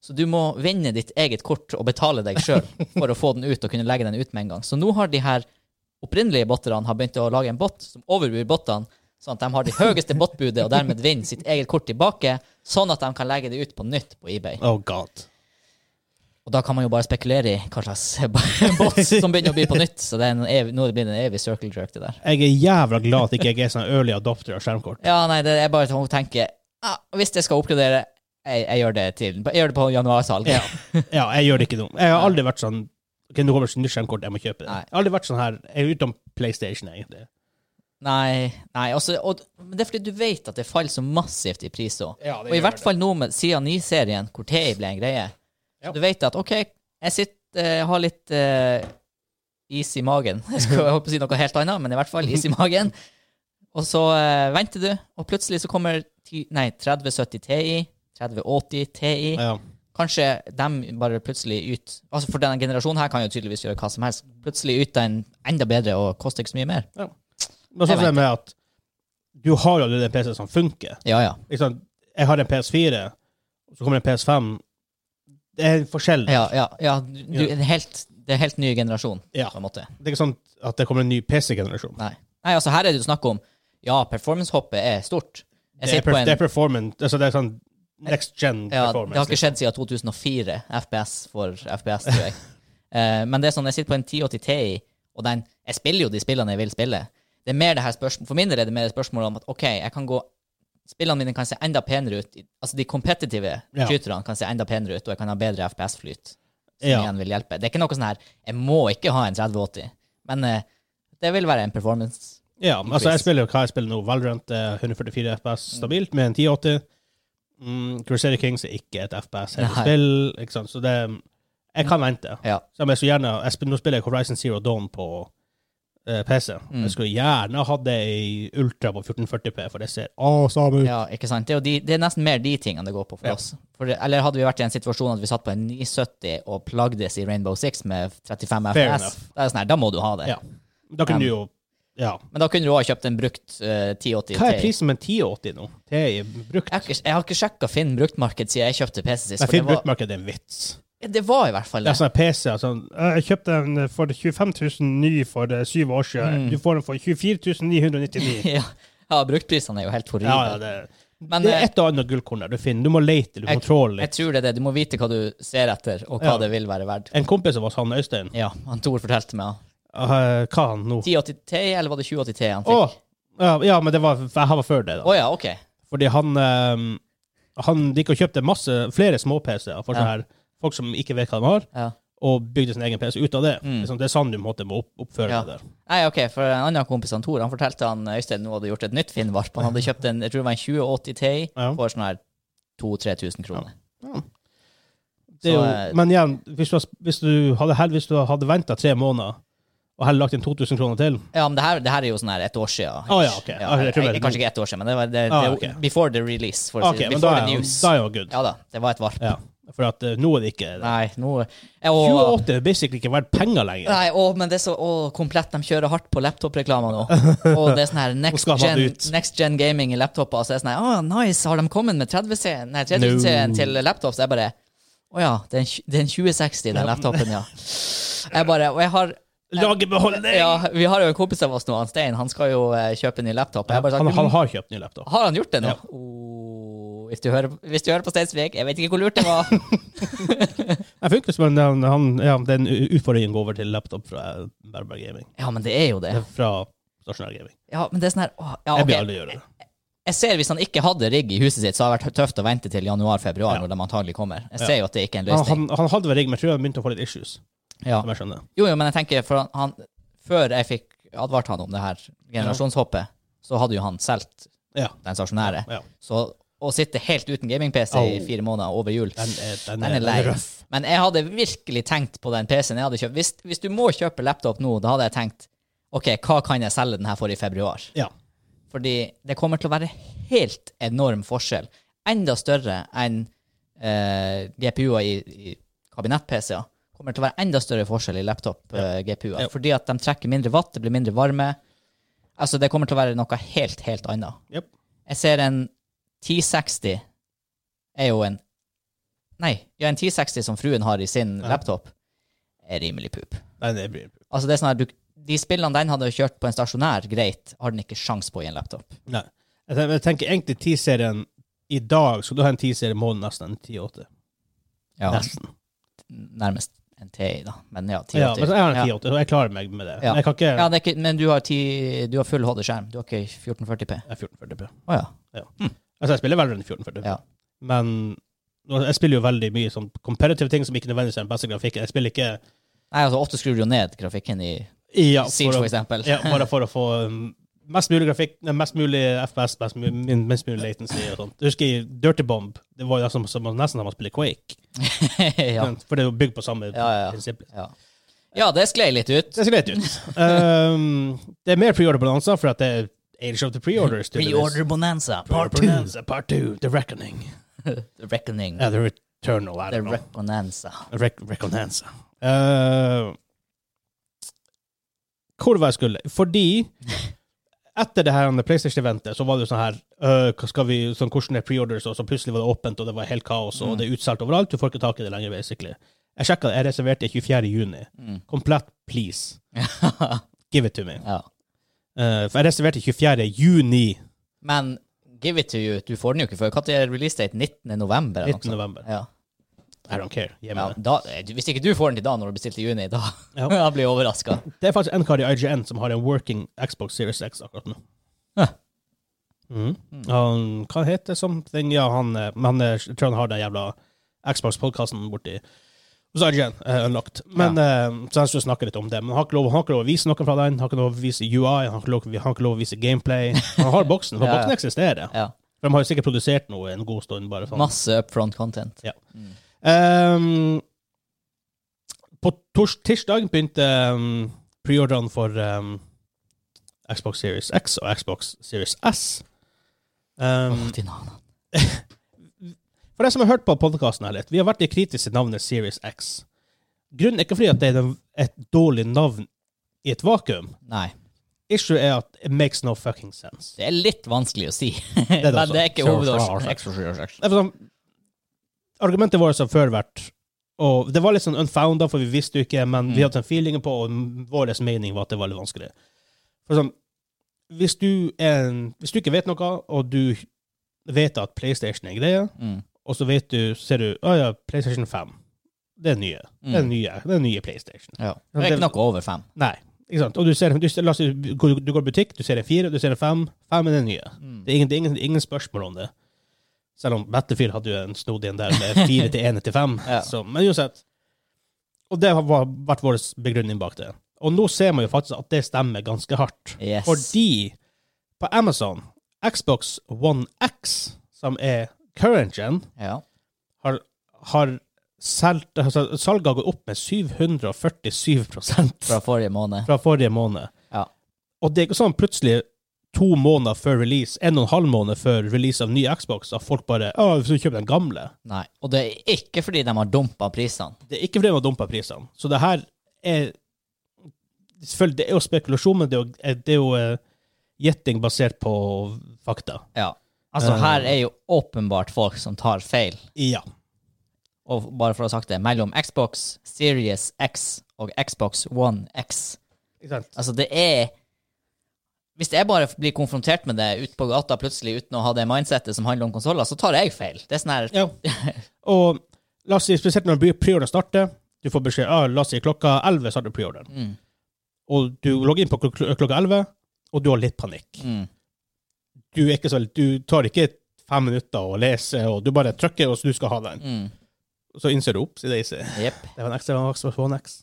Så du må vinne ditt eget kort og betale deg sjøl for å få den ut og kunne legge den ut med en gang. Så nå har de her opprinnelige botterne har begynt å lage en bot som overbyr bottene, sånn at de har det høyeste botbudet og dermed vinner sitt eget kort tilbake, sånn at de kan legge det ut på nytt på eBay.
Oh god.
Og da kan man jo bare spekulere i hva slags [LAUGHS] bot som begynner å bli på nytt, så det er en evig, nå blir det en evig circle jerk, det der.
Jeg er jævla glad at ikke jeg er sånn early adopter av skjermkort.
Ja, nei, det er bare at hun tenker ah, hvis jeg skal oppgradere, jeg, jeg gjør det til Jeg gjør det på januarsalg.
Ja. ja, jeg gjør det ikke nå. Jeg har aldri vært sånn Ok, nå kommer det et nytt skjermkort, jeg må kjøpe det.
Nei.
Jeg har aldri vært sånn her Jeg er utenom PlayStation, egentlig.
Nei, nei også, og, men det er fordi du vet at det faller så massivt i pris òg.
Ja,
Og
det
i
gjør
hvert
det.
fall nå med siden 9-serien, hvor TI ble en greie.
Ja.
Så du vet at OK, jeg sitter, eh, har litt eh, is i magen. [LAUGHS] Jeg skulle holdt på å si noe helt annet, men i hvert fall is i magen. Og så eh, venter du, og plutselig så kommer ti, nei, 3070 TI, 3080 TI.
Ja.
Kanskje de bare plutselig ut Altså For denne generasjonen her kan jo tydeligvis gjøre hva som helst. Plutselig ut en enda bedre og koster ikke så mye mer.
Men
Jeg
sånn som det med at du har jo allerede en PC som funker.
Ja, ja.
Ikke sant? Jeg har en PS4, så kommer en PS5. Det er en forskjell.
ja, ja, ja du, du- en helt, det er en helt ny generasjon,
Ja.
på en måte.
Det er ikke sånn at det kommer en ny PC-generasjon.
Nei. Nei, altså her er det jo snakk om Ja, performance-hoppet er stort. Jeg
Det, er
sitter på
perf-
en,
det er performance. Altså det er sånn next gen
ja, det
performance.
har ikke skjedd siden 2004, FPS for FPS, tror
[LAUGHS]
jeg. Eh, men det er sånn, jeg sitter på en 1080 Ti, og den, jeg spiller jo de spillene jeg vil spille. Det er mer det her spørsmålet, For min del er det mer spørsmålet om at OK, jeg kan gå spillene mine kan se enda penere ut. i- Altså de kompetitive
Ja.
skyterne kan se enda penere ut, og jeg kan ha bedre FPS-flyt. Som
Ja.
igjen vil hjelpe. Det er ikke noe sånn her Jeg må ikke ha en 3080, men eh, det vil være en performance.
Ja, men altså jeg spiller jo hva jeg spiller nå. Valorant er 144 FPS
Mm.
stabilt med en 1080. Mm, Crusader Kings er ikke et FPS heller
Nei.
spill, ikke sant? så det Jeg kan vente.
Ja.
Selv om jeg så gjerne jeg spiller, Nå spiller jeg Horizon Zero Dawn på eh, PC.
Mm.
Jeg skulle gjerne hatt det i ultra på 1440P, for det ser awesome ut.
Ja, ikke sant? Det er, jo de, det er nesten mer de tingene det går på for
Mm. Ja.
oss. For, eller hadde vi vært i en situasjon at vi satt på en 970 og plagdes i Rainbow Six med 35
Fair
FPS,
enough.
da, er det sånn her, da må du ha det.
Ja. Da kunne
Um,
du jo Ja.
Men da kunne du også ha kjøpt en brukt eh, 1080
Hva er
Ti.
prisen med en 1080 nå? Det er brukt.
Jeg har ikke, jeg har ikke sjekka Finn bruktmarked siden jeg kjøpte PC sist.
Jeg
For det,
finner
var,
bruktmarkedet er en vits.
det var i hvert fall det.
Det er sånn PC sånn, Jeg kjøpte en for 25 000 ny for eh, syv år
Mm.
siden. Du får den for 24 999.
[LAUGHS] Ja, ja bruktprisene er jo helt horrible.
ja, ja, det,
Men,
det er
eh,
et og annet gullkorn der du finner. Du må lete, du må tråle
Jeg
litt.
tror det er det. Du må vite hva du ser etter, og hva
Ja.
det vil være verdt.
En kompis av oss, han Øystein
Ja, han Tor fortalte meg.
eh, Hva han nå?
1080 Ti, eller var det 2080 Ti han
Å!
fikk?
ja, ja, men det var, jeg var før det,
Å
da.
ja, ok.
Fordi han eh, Han gikk og kjøpte masse, flere små-PC-er for
Ja.
sånne her, folk som ikke vet hva de har,
Ja.
og bygde sin egen PC ut av det.
Mm.
Liksom, det er sånn du måtte må opp, oppføre
Ja.
deg der.
Nei, ok, for en annen kompis, han Tor, han fortalte han Øystein nå hadde gjort et nytt Finnvarp. Han hadde kjøpt en jeg tror det var en 2080 Ti
Ja.
for sånn her 2000-3000 kroner.
Det er jo,
Så, eh,
men igjen, hvis du, har- hvis du hadde, hell- hvis du hadde venta tre måneder og heller lagt inn 2000 kroner til
Ja, men det her, det her er jo sånn her et år siden.
Å, ja, ok. Ja, jeg tror
jeg,
det-
kanskje ikke ett år siden, men det var det, det,
Ah, ok.
before the release. For å si
OK,
det,
men da
before
er
the
jo
news.
da er jo good.
Ja da, det var et varp.
Ja. For at eh, nå er det ikke det.
Nei, nå eh, og,
28 er basically ikke verdt penger lenger.
Nei, å, men det er så å, komplett. De kjører hardt på laptop-reklama
[LAUGHS]
nå. Og det er sånn her next
skal man
gen,
ut.
next gen gaming i laptoper. Så er det sånn her, å, nice, har de kommet med 30-serien Nei, 30-serien
No.
til laptops? Jeg bare Å ja, det er en, tj- det er en 2060, den laptopen, ja. Jeg bare Og jeg har
Laget beholdning!
Ja, vi har jo en kompis av oss nå, han Stein. Han skal jo eh, kjøpe en ny laptop. Jeg har bare
Han,
sagt,
han har kjøpt ny laptop.
Har han gjort det nå?
Ja.
Oh, hvis, du hører, hvis du hører på Steinsvik, jeg vet ikke hvor lurt det
[LAUGHS]
var.
Jeg funker, men han, han, ja, den u- utfordringen går over til laptop fra eh, Berber Gaming.
ja, men det er jo det.
Fra stasjonær gaming.
Ja, men det er sånn her åh, ja,
Jeg vil
ok.
aldri gjøre det.
Jeg ser hvis han ikke hadde rigg i huset sitt, så hadde det vært tøft å vente til januar-februar,
Ja.
når de antagelig kommer. Jeg
Ja.
ser jo at det ikke er Ah. en
Han,
løsning.
han, han hadde vel rigg, men jeg tror han begynte å få litt issues.
Ja.
Som jeg skjønner.
Jo, jo, men jeg tenker, for han, han, før jeg fikk advart han om det her generasjonshoppet, så hadde jo han solgt
Ja.
den stasjonære.
ja.
Så å sitte helt uten gaming-PC i
Au.
fire måneder over jul
Den er, den
Den er
den
lei.
røff.
Men jeg hadde virkelig tenkt på den PC-en jeg hadde kjøpt. Hvis, hvis du må kjøpe laptop nå, da hadde jeg tenkt OK, hva kan jeg selge den her for i februar?
Ja.
Fordi det kommer til å være helt enorm forskjell. Enda større enn eh, GPU-er i, i kabinett-PC-er. Kommer til å være enda større forskjell i eh, laptop-GPU-er.
Ja.
Fordi at de trekker mindre watt, det blir mindre varme. Altså, det kommer til å være noe helt, helt annet.
Jep.
Jeg ser en 1060 er jo en Nei, ja, en 1060 som fruen har i sin
Ja.
laptop, er rimelig pup.
Den er bryr.
Altså, det er sånn at du, de spillene den hadde kjørt på en stasjonær, greit, har den ikke sjans på i en laptop.
Nei. Jeg tenker, jeg tenker egentlig T-serien i dag, så du har en T-serie i måneden nesten. 10-8.
Ja,
Nesten.
Nærmest en TI, da. Men ja, 1080.
Ja, men jeg har en
Ja.
10-8, og jeg klarer meg med det.
Ja.
Men jeg kan ikke
Ja, det er ikke, men du har, 10, du har full HD-skjerm. Du har ikke 1440P.
Jeg er 1440p.
Å ja.
Altså, jeg spiller veldig rundt 1440p.
Ja.
Men nå- jeg spiller jo veldig mye sånn comparative ting som ikke nødvendigvis er den beste grafikken. Jeg spiller ikke
Nei, altså, ofte skrur du jo ned grafikken i
ja,
Siege,
å-
for eksempel.
Ja, bare for å få um, mest mulig grafikk, nei, mest mulig FPS, mest mulig, min- minst mulig latency og sånt. Jeg husker i Dirty Bomb, det var jo som, som, nesten som å spille Quake.
[LAUGHS] ja.
Men- For det er jo bygd på samme
ja, ja.
prinsipp.
ja. Ja, det sklei litt ut.
Det ser greit
[LAUGHS]
ut. Um, det er mer preorder-balanser, for at det er Age of the Preorders. tydeligvis.
Reorder Bonanza, part two.
Pre-orders, Part 2. The Reckoning.
[LAUGHS] The Reckoning.
Ja, The Returnal. I
The
don't know.
Reconanza.
Rec Reconanza. Eh, hvor var jeg skulle? Fordi etter det her andre PlayStation-eventet, så var det jo sånn her eh, hva skal vi, sånn, Hvordan er preorders? Og så plutselig var det åpent, og det var helt kaos, og det er utsolgt overalt. Du får ikke tak i det lenger, basically. Jeg sjekka det, jeg reserverte 24. juni. Komplett, please. Give it to me.
Ja.
Eh, for jeg reserverte 24. juni.
Men give it to you, du får den jo ikke før. Når er release date? 19. november? eller noe
19.
sånt?
november.
Ja.
I don't care. Gi
Ja,
meg det.
da, eh, du- hvis ikke du får den til da, når du bestilte i juni, da, [LAUGHS]
Ja.
da blir jeg overraska.
Det er faktisk en kar i IGN som har en working Xbox Series X akkurat nå.
Ja.
Mhm. Han, hva heter det something? Ja, han, eh, men han eh, jeg tror han har den jævla Xbox-podkasten borti hos IGN, eh, Unlocked. Men, eh, så jeg skulle snakke litt om det. Men han har ikke lov, han har ikke lov å vise noe fra den. Han har ikke lov å vise UI, han har ikke lov, han har ikke lov å vise gameplay. Han har boksen, for
Ja, ja.
boksen eksisterer.
Ja.
For de har jo sikkert produsert noe en god stund, bare sånn.
Masse upfront content.
Ja.
Mm.
Ehm, på tors tirsdag begynte um, preordrene for ehm, Xbox Series X og Xbox Series S. Ehm,
Åh, din annen.
for deg som har hørt på podkasten her litt, vi har vært litt kritiske til navnet Series X. Grunnen er ikke fordi at det er den- et dårlig navn i et vakuum.
Nei.
Issue er at it makes no fucking sense.
Det er litt vanskelig å si. [LAUGHS]
det
Men
også.
det er ikke
Sure,
hovedårsaken.
Det er for sånn, argumentet vårt har før vært og Det var litt sånn unfounda, for vi visste jo ikke, men vi hadde den feelingen på, og vår mening var at det var litt vanskelig. For sånn, hvis du, er en, hvis du ikke vet noe, og du vet at PlayStation er greia,
Mm.
og så vet du, ser du Å ja, PlayStation 5. Det er nye. Det er nye, det er nye PlayStation.
Ja. Det er ikke noe over fem.
Nei. Ikke sant? Og du ser, du, ser- la oss si du går du går i butikk, du ser en fire, du ser en fem. Fem er den nye.
Mm.
Det er ingen, det er ingen, ingen spørsmål om det. Selv om Battlefield hadde jo en snodig en der med fire til én til fem.
[LAUGHS] Ja.
Så, men uansett. Og det har va- vært vår begrunning bak det. Og nå ser man jo faktisk at det stemmer ganske hardt.
Yes.
Fordi på Amazon, Xbox One X, som er current gen,
Ja.
har, har solgt, altså, salget har gått opp med 747
Fra forrige måned. [LAUGHS]
fra forrige måned.
Ja.
Og det er ikke sånn plutselig to måneder før release, en og en halv måned før release av ny Xbox, at folk bare Å, så kjøp den gamle.
Nei. Og det er ikke fordi de har dumpa prisene.
Det er ikke fordi de har dumpa prisene. Så det her er Selvfølgelig, det er jo spekulasjon, men det er jo, det er jo eh, gjetting basert på fakta.
Ja. Altså,
Eh.
her er jo åpenbart folk som tar feil.
Ja.
Og bare for å ha sagt det, mellom Xbox Series X og Xbox One X.
Ikke sant?
Altså, det er Hvis jeg bare blir konfrontert med det ute på gata plutselig uten å ha det mindsettet som handler om konsoller, så tar jeg feil. Det er sånn her
Ja. Og la oss si, spesielt når preorderen starter, du får beskjed ah, la oss si klokka 11 starter preorderen.
Mm.
Og du logger inn på klok klokka 11, og du har litt panikk.
Mm.
Du, er ikke så, du tar ikke fem minutter å lese, og du bare trykker, og så du skal ha den.
Mm.
Så innser du opp, sier det ikke.
Jepp.
Det var en X, det var en X, det var en X.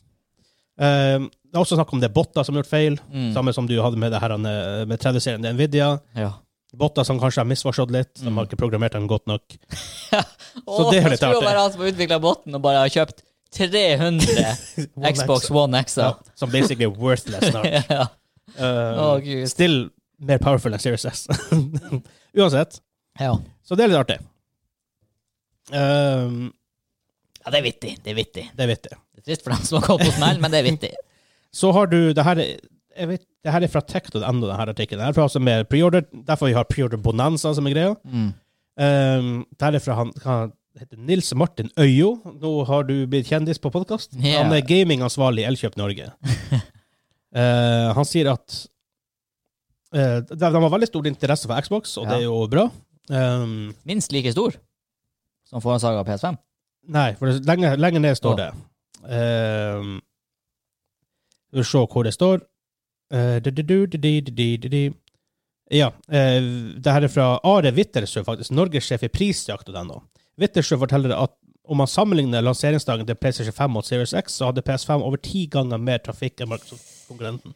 Ehm, det er også snakk om det er botter som har gjort feil,
Mm.
samme som du hadde med det her eh, med 30-serien til Nvidia.
Ja.
Botter som kanskje har misforstått litt,
Mm.
de har ikke programmert dem godt nok.
Så
det er litt
skulle
artig.
jo være han som utvikla båten og bare har kjøpt
[LAUGHS]
300 Xbox One
Ja,
X-er.
som basically er
[LAUGHS]
worthless snart.
Ja.
Ehm,
Å, Gud.
still mer powerful enn Series S. [LAUGHS] Uansett.
Ja.
Så det er litt artig. Ehm,
ja, det er vittig. Det er vittig.
det vet jeg.
Det er trist for dem som har gått på smell, men det er vittig.
Så har du det her er- jeg vet, det her er fra Tekno.no, denne artikkelen. Det her er fra altså med preorder, derfor vi har preorder bonanza som er greia.
Mm.
Um, der er fra han, han heter Nils Martin Øyo. Nå har du blitt kjendis på podkast.
Ja.
Han er gamingansvarlig i
[LAUGHS]
Elkjøp Norge. Eh, han sier at eh, de, de har veldig stor interesse for Xbox, og
Ja.
det er jo bra. Um,
Minst like stor som foransaga PS5.
nei, for det, lenger, lenger ned
Ja.
står det um, Vi får se hvor det står. Eh, du-du-du, du-di, du-di, du-di. Ja. eh, det her er fra Are Wittersø, faktisk. Norgessjef i prisjakt.no. Wittersø forteller at om man sammenligner lanseringsdagen til PlayStation 5 og Series X, så hadde PS5 over ti ganger mer trafikk enn Microsoft-konkurrenten.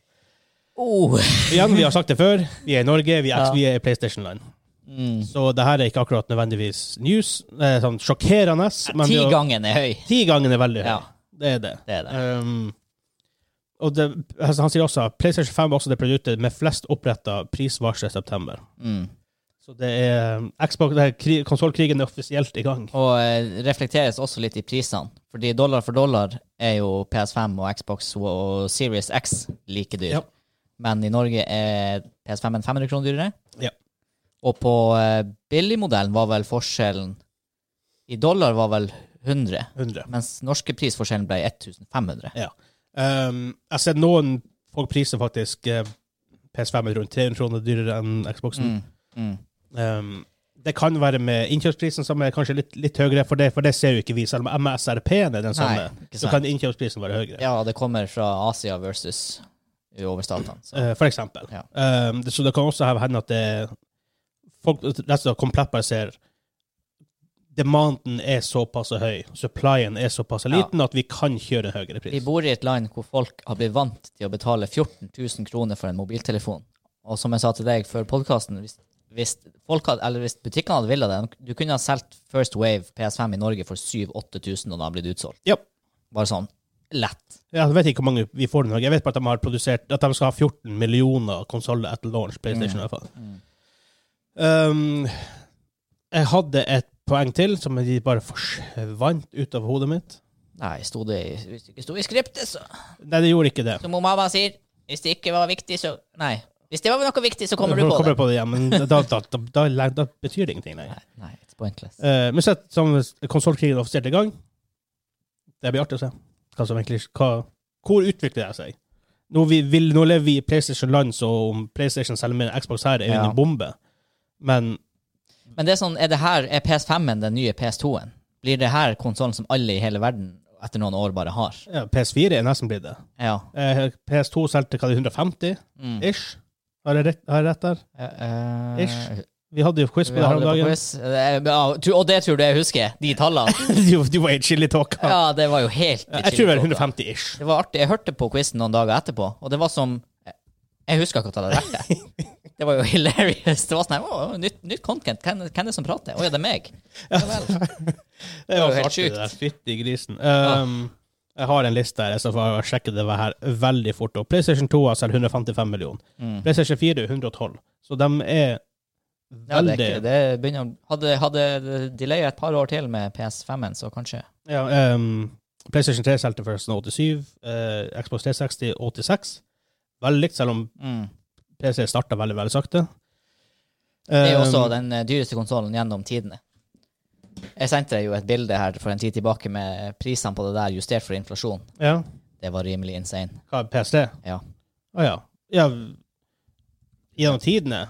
Oh.
Igjen, vi har sagt det før, vi er i Norge, vi er,
Ja.
vi er i PlayStation-land.
Mm.
Så det her er ikke akkurat nødvendigvis news. Eh, sånn sjokkerende. men
Ti
det er-
gangen er høy.
Ti ganger er veldig høy.
Ja.
Det er det.
Det er det.
Um, og det, altså, han sier også at PlayStation 5 er også det produktet med flest oppretta prisvarsler i september.
Mm.
Så det er um, Xbox, det er kri- konsollkrigen er offisielt i gang.
Og eh, reflekteres også litt i prisene. Fordi dollar for dollar er jo PS5 og Xbox og Series X like dyr.
Ja.
Men i Norge er PS5 en 500 kroner dyrere.
Ja.
Og på eh, billigmodellen var vel forskjellen I dollar var vel 100,
100.
mens norske prisforskjellen ble 1500.
Ja. Um, jeg har sett noen folk priser faktisk eh, PS5 er rundt 300 kroner dyrere enn Xboxen.
Mm. Mm.
Um, det kan være med innkjøpsprisen, som er kanskje litt, litt høyere, for det, for det ser jo ikke vi. Selv om MSRP-en er den samme,
ikke
så
sant.
kan innkjøpsprisen være høyere.
Ja, det kommer fra Asia versus overstatene. så-
Eh, for eksempel.
Ja.
Um, det, så det kan også hende at det folk rett og slett komplett bare ser Demanden er såpass høy, supplyen er såpass
Ja.
liten, at vi kan kjøre en
Vi
høyere pris.
bor i et land hvor folk har blitt vant til å betale 14 000 kroner for en mobiltelefon. Og som jeg sa til deg før podkasten, hvis, hvis, folk hadde- eller hvis butikkene hadde villet det Du kunne ha solgt First Wave PS5 i Norge for 7000-8000, og den har blitt utsolgt.
Ja.
Bare sånn lett.
Jeg vet ikke hvor mange vi får i Norge. Jeg vet bare at de har produsert at de skal ha 14 millioner konsoller etter launch.
Mm.
PlayStation i hvert fall. Um, jeg hadde et poeng til som de bare forsvant ut av hodet mitt.
Nei, sto det i, hvis det ikke sto i skriptet, så
Nei, det gjorde ikke det.
Som mamma sier, hvis det ikke var viktig, så Nei. Hvis det var noe viktig, så kommer du
Jeg
på
kommer
det.
på det igjen, men da, da, da, da, da, da betyr det ingenting lenger.
Nei, nei, it's pointless.
Eh, men sett som konsollkrigen offisielt i gang, det blir artig å se hva som egentlig hva, Hvor utvikler det seg? Nå, vi, vil, nå lever vi i PlayStation-land, så om PlayStation selger mer enn Xbox her, er jo
Ja.
en bombe. Men
Men det er sånn, er det her, er PS5-en den nye PS2-en? Blir det her konsollen som alle i hele verden etter noen år bare har?
ja, PS4 er nesten blitt det.
Ja.
Eh, PS2 solgte hva det er, 150
Mm.
ish. Har jeg rett, har jeg rett der?
Eh, eh,
Ish. Vi hadde jo quiz på
Vi
det her
hadde det på
om dagen.
quiz. Eh, ja, tu- Og det tror du jeg husker, de tallene.
[LAUGHS] du, du var i chili-tåka.
Ja, det var jo helt
jeg tror det
chili-tåka.
var 150 ish.
Det var artig. Jeg hørte på quizen noen dager etterpå, og det var som eh, Jeg husker ikke at jeg hadde rett det.
[LAUGHS]
Det var jo hilarious. Det var sånn her, «Å, nytt, nytt content. Hvem, hvem er det som prater? Å ja, det er meg. Ja vel.
Det
var
var
jo
så
helt
artig,
sjukt.
det der. Fytti grisen. Um, jeg har en liste her, så får
Mm.
jeg sjekke det her veldig fort. opp. PlayStation 2 har selv 155 millioner. PlayStation 4 112. Så de er
Ja, det, er
veldig
ikke, det begynner, å- hadde, hadde de leia et par år til med PS5-en, så kanskje
Ja, ehm, PlayStation 3 solgte forresten 87, eh, Xbox 360 86. Veldig likt, selv om
mm.
PC starta veldig, veldig sakte.
Det er jo også
Ehm,
den eh, dyreste konsollen gjennom tidene. Jeg sendte deg jo et bilde her for en tid tilbake med prisene på det der justert for inflasjon.
Ja,
Det var rimelig insane.
hva er PS3?
Ja.
Å ja. ja. Gjennom tidene?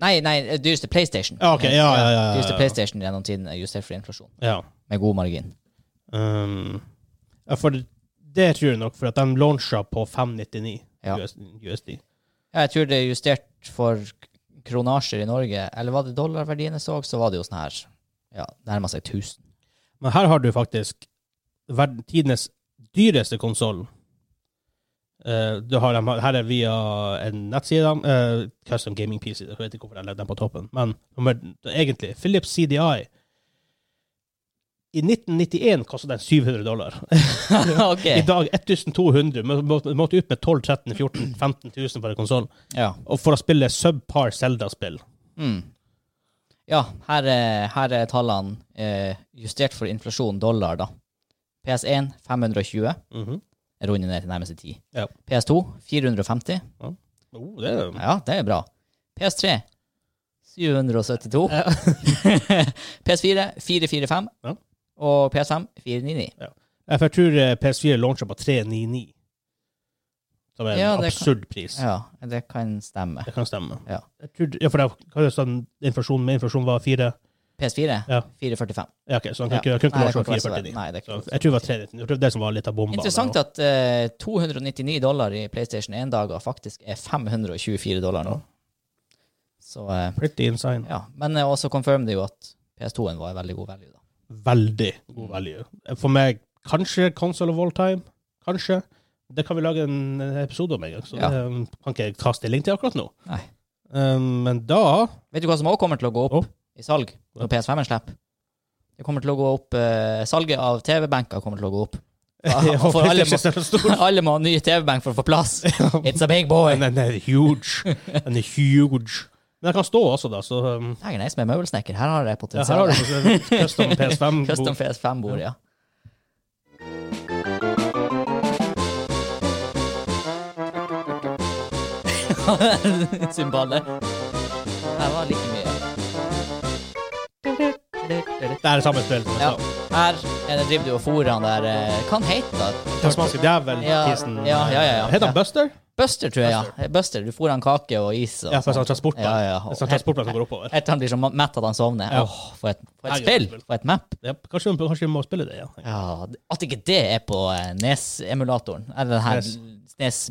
Nei, nei, dyreste PlayStation.
Ja, Ah, ok, ja, ja, ja, ja, ja.
Dyreste PlayStation gjennom tidene, justert for inflasjon.
Ja.
Med god margin.
Ehm, ja for det, det tror jeg nok, for at de launcha på 599
Ja.
US USD.
Ja, jeg tror det er justert for k- kronasjer i Norge. Eller var det dollarverdiene jeg så, så var det jo sånn her Ja, nærma seg [LAUGHS] 1000.
Men her har du faktisk verden- tidenes dyreste konsoll. Eh, du har dem, her er via en nettside, eh, Custom Gaming PC, jeg vet ikke hvorfor jeg legger den på toppen, men nummer, egentlig, Philips CDI, i 1991 kostet den 700 dollar. [LAUGHS]
ok.
I dag 1200, men må- må- måtte ut med 12, 13, 14, 15 000 for en konsoll.
Ja.
Og for å spille subpar Zelda-spill.
Mm. Ja, her er, her er tallene eh, justert for inflasjon dollar, da. PS1 520,
Mhm.
jeg runder ned til nærmeste 10.
Ja.
PS2 450.
oh, det er
Ja, det er bra. PS3 772. [LAUGHS] PS4 445.
Ja.
Og PS5 499.
Ja, for jeg tror eh, PS4 launcha på 399. Som er en
Ja, det kan-
absurd pris.
Ja, det kan stemme.
Det kan stemme.
Ja.
Jeg tror, ja, for det, hva er det sånn, inflasjonen med inflasjon var 4
PS4
Ja.
445.
Ja, ok, så han kunne
Ja.
ikke, kunne
Nei,
ikke
det
launche
kan ikke
på
være så-
449.
Nei, det
Så
kan ikke
jeg tror det var 399. Jeg tror det var det som var litt av bomba.
Interessant at eh, 299 dollar i PlayStation 1-dager faktisk er 524 dollar nå. Så eh,
Pretty insane.
ja. Men eh, også confirm det jo at PS2-en var en veldig god value, da.
Veldig god value. For meg, kanskje Console of All Time. Kanskje. Det kan vi lage en episode om en gang, så
Ja.
det um, kan ikke jeg ta stilling til akkurat nå.
Nei.
Um, men da
Vet du hva som òg kommer til å gå opp
Opp?
i salg når PS5-en slipper? Det kommer til å gå opp eh, Salget av TV-benker kommer til å gå opp.
Og [LAUGHS]
for alle må-
PlayStation er
[LAUGHS]
så stor.
Alle må ha ny TV-benk for å få plass. It's a big boy.
Den er huge. Den er huge. Men den kan stå også, da. Så um,
Dægen, jeg som er møbelsnekker, her har jeg
ja, her har
potensial.
du custom
[LAUGHS]
PS5.
Custom PS5-bord, ja. [LAUGHS] Symbaler. Her var like mye.
Det er samme spill.
Ja,
Ja.
her er det driver du og fôrer han der eh, Hva han heter
Tasmanske djevel.
Ja,
tissen.
ja, ja, ja, ja.
Heter han
Ja.
Buster?
Buster, tror jeg. ja. Buster, Du fôrer han kake og is. Og
Ja, for en
sånt.
sånn transportplan.
Ja, ja.
En sånn transportplan som går oppover.
Etter han blir så ma- mett at han sovner.
Ja.
Åh, for et, for et
Herregud.
spill! For et map.
Ja, kanskje, vi- kanskje vi må spille det, ja.
Ja, At ikke det er på eh, Nes-emulatoren. Eller den her E
Nes.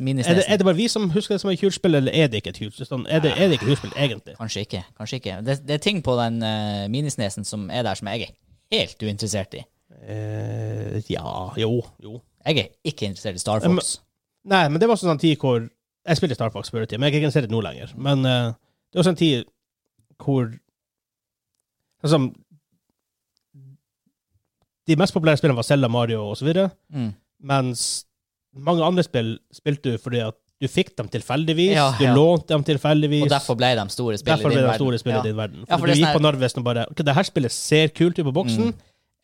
Nes,
E Er det, er
mini-Nesen.
det bare vi som husker det som et kult spill, eller er det ikke et kult spill? Sånn, Er det, er det ikke et kult spill, egentlig?
Kanskje ikke. kanskje ikke. Det, det er ting på den eh, minisnesen som er der, som jeg er helt uinteressert i.
Eh, ja Jo. Jo.
Jeg er ikke interessert i Star Fox.
Nei, men det var også en sånn tid hvor Jeg spilte Star Fox før i tida, men jeg kan ikke se det nå lenger. Men eh, det var også en tid hvor Altså De mest populære spillene var Zelda, Mario osv.,
Mm.
mens mange andre spill spilte du fordi at du fikk dem tilfeldigvis,
Ja,
du
ja.
lånte dem tilfeldigvis.
Og derfor ble de store spill i
Derfor
din
ble det
verden.
store spillet
ja.
i din verden. For
Ja, for det
du
er
gikk
sånn Mm.
på Narvesen og bare Ok, det her spillet ser kult ut på boksen.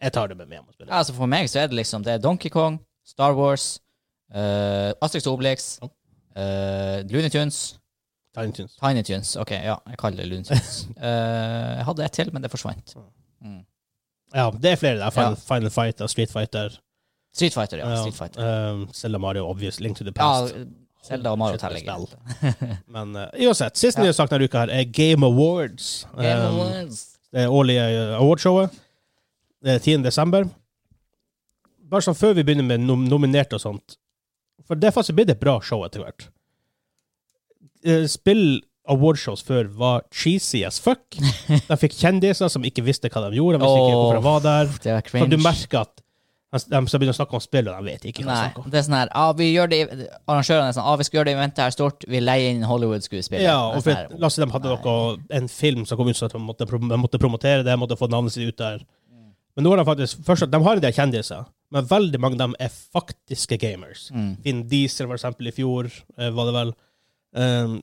Jeg tar det med meg hjem og
Ja,
spiller.
altså For meg så er det liksom Det er Donkey Kong, Star Wars, uh, Astrix Obelix,
Ja.
eh, Looney Tunes
Tiny Toons.
Tiny Tunes. Ok, ja, jeg kaller det Looney
[LAUGHS]
Tunes. Eh, jeg hadde ett til, men det forsvant. Mm.
Ja, det er flere der.
Ja.
Final, Final Fight og Street Fighter.
Street Fighter, ja. Street Fighter.
ehm, Zelda Mario, obvious. Link to the
Ja,
past.
Zelda og Mario
Shit,
teller
det er
ikke.
Men eh, uansett, siste
Ja.
nye sak denne uka her er Game Awards.
Game
Ehm,
Awards.
det årlige eh, awardshowet. Det er 10. desember. Bare sånn før vi begynner med nom nominerte og sånt. For det er faktisk blitt et bra show etter hvert. Eh, Spill awardshows før var cheesy as
[LAUGHS]
fuck. De fikk kjendiser som ikke visste hva de gjorde. De visste ikke
Åh.
hvorfor de var der.
Det var
Så du
cringe.
merker at de de som begynner å snakke om spill, og de vet ikke hva de
Nei,
snakker om.
det er sånn her ah, vi gjør det, Arrangørene er sånn ah, vi skal gjøre det eventet her stort, vi leier inn Hollywood-skuespillere.
Ja,
Det er sånn
og for,
her,
at- la oss si de hadde noe, en film som kom ut, så at de måtte, prom- de måtte promotere det, måtte få navnet sitt ut der. Men nå har de faktisk, først at de har en del kjendiser, men veldig mange av dem er faktiske gamers.
Mm.
Finn Diesel, for eksempel, i fjor, eh, var det vel. Um,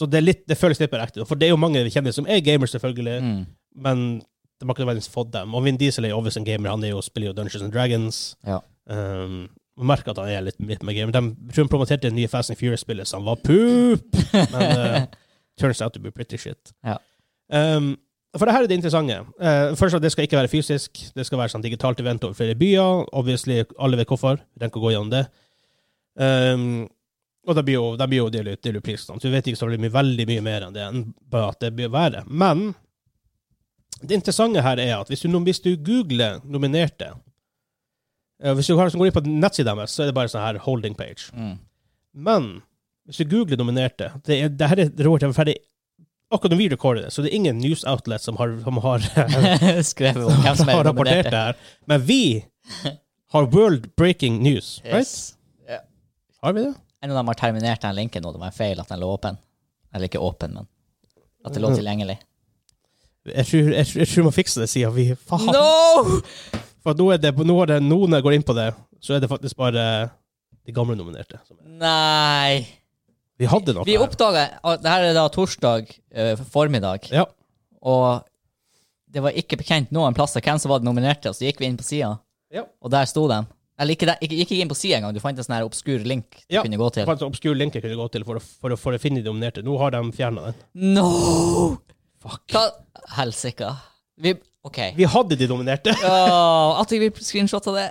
Så det, er litt, det føles litt mer ekte. For det er jo mange vi kjenner som er gamers, selvfølgelig,
Mm.
men de har ikke nødvendigvis fått dem. Og Vin Diesel er jo obviously en gamer, han er jo, spiller jo Dungeons and Dragons.
Ja.
Um, man merker at han er litt, litt mer gamer. De tror han promoterte det nye Fast and Furious-spillet, så han var poop! Men
[LAUGHS]
eh, turns out to be pretty shit.
Ja.
Um, for det her er det interessante. Eh, først at Det skal ikke være fysisk. Det skal være sånn digitalt event over flere byer. Obviously, alle vet hvorfor. Vi trenger ikke å gå gjennom det. Um, og det blir jo, det blir jo delt ut, delt ut pris. sånn. Så vi vet ikke så veldig mye, veldig mye mer enn det enn bare at det bør være. Men det interessante her er at hvis du, nom- hvis du googler nominerte eh, Hvis du har, går inn på nettsida deres, så er det bare sånn her holding page.
Mm.
Men hvis du googler nominerte det, er, det her er råd til ferdig Akkurat når vi recorder det, så det er ingen news outlet som har, som
[LAUGHS]
har, som
Skrevet om
[LAUGHS]
hvem som er
har rapportert
nominert.
det her. Men vi har world breaking news, right?
Yes.
Har vi det?
En av dem har terminert den linken, og det var en feil at den lå åpen. Eller ikke åpen, men at det lå
Mm. [LAUGHS]
tilgjengelig.
Jeg tror, jeg, tror- jeg tror vi må fikse det, sier vi. Faen!
No!
For nå er det, nå er det, nå når jeg går inn på det, så er det faktisk bare de gamle nominerte. som er.
Nei.
Vi hadde noe.
Vi
her.
oppdaga at det her er da torsdag eh, formiddag,
Ja.
og det var ikke bekjent noen plasser hvem som var nominert til, så gikk vi inn på sida,
Ja.
og der sto de. Eller ikke, der, ikke, gikk ikke inn på sida engang, du fant en sånn her obskur link du
Ja.
kunne gå
Det
til.
var en sånn obskur link jeg kunne gå til for å, for å, for å finne de nominerte. Nå har de fjerna den.
No!
Fuck.
Hva Helsike. Vi OK.
Vi hadde de nominerte.
Åh, at vi screenshotta det.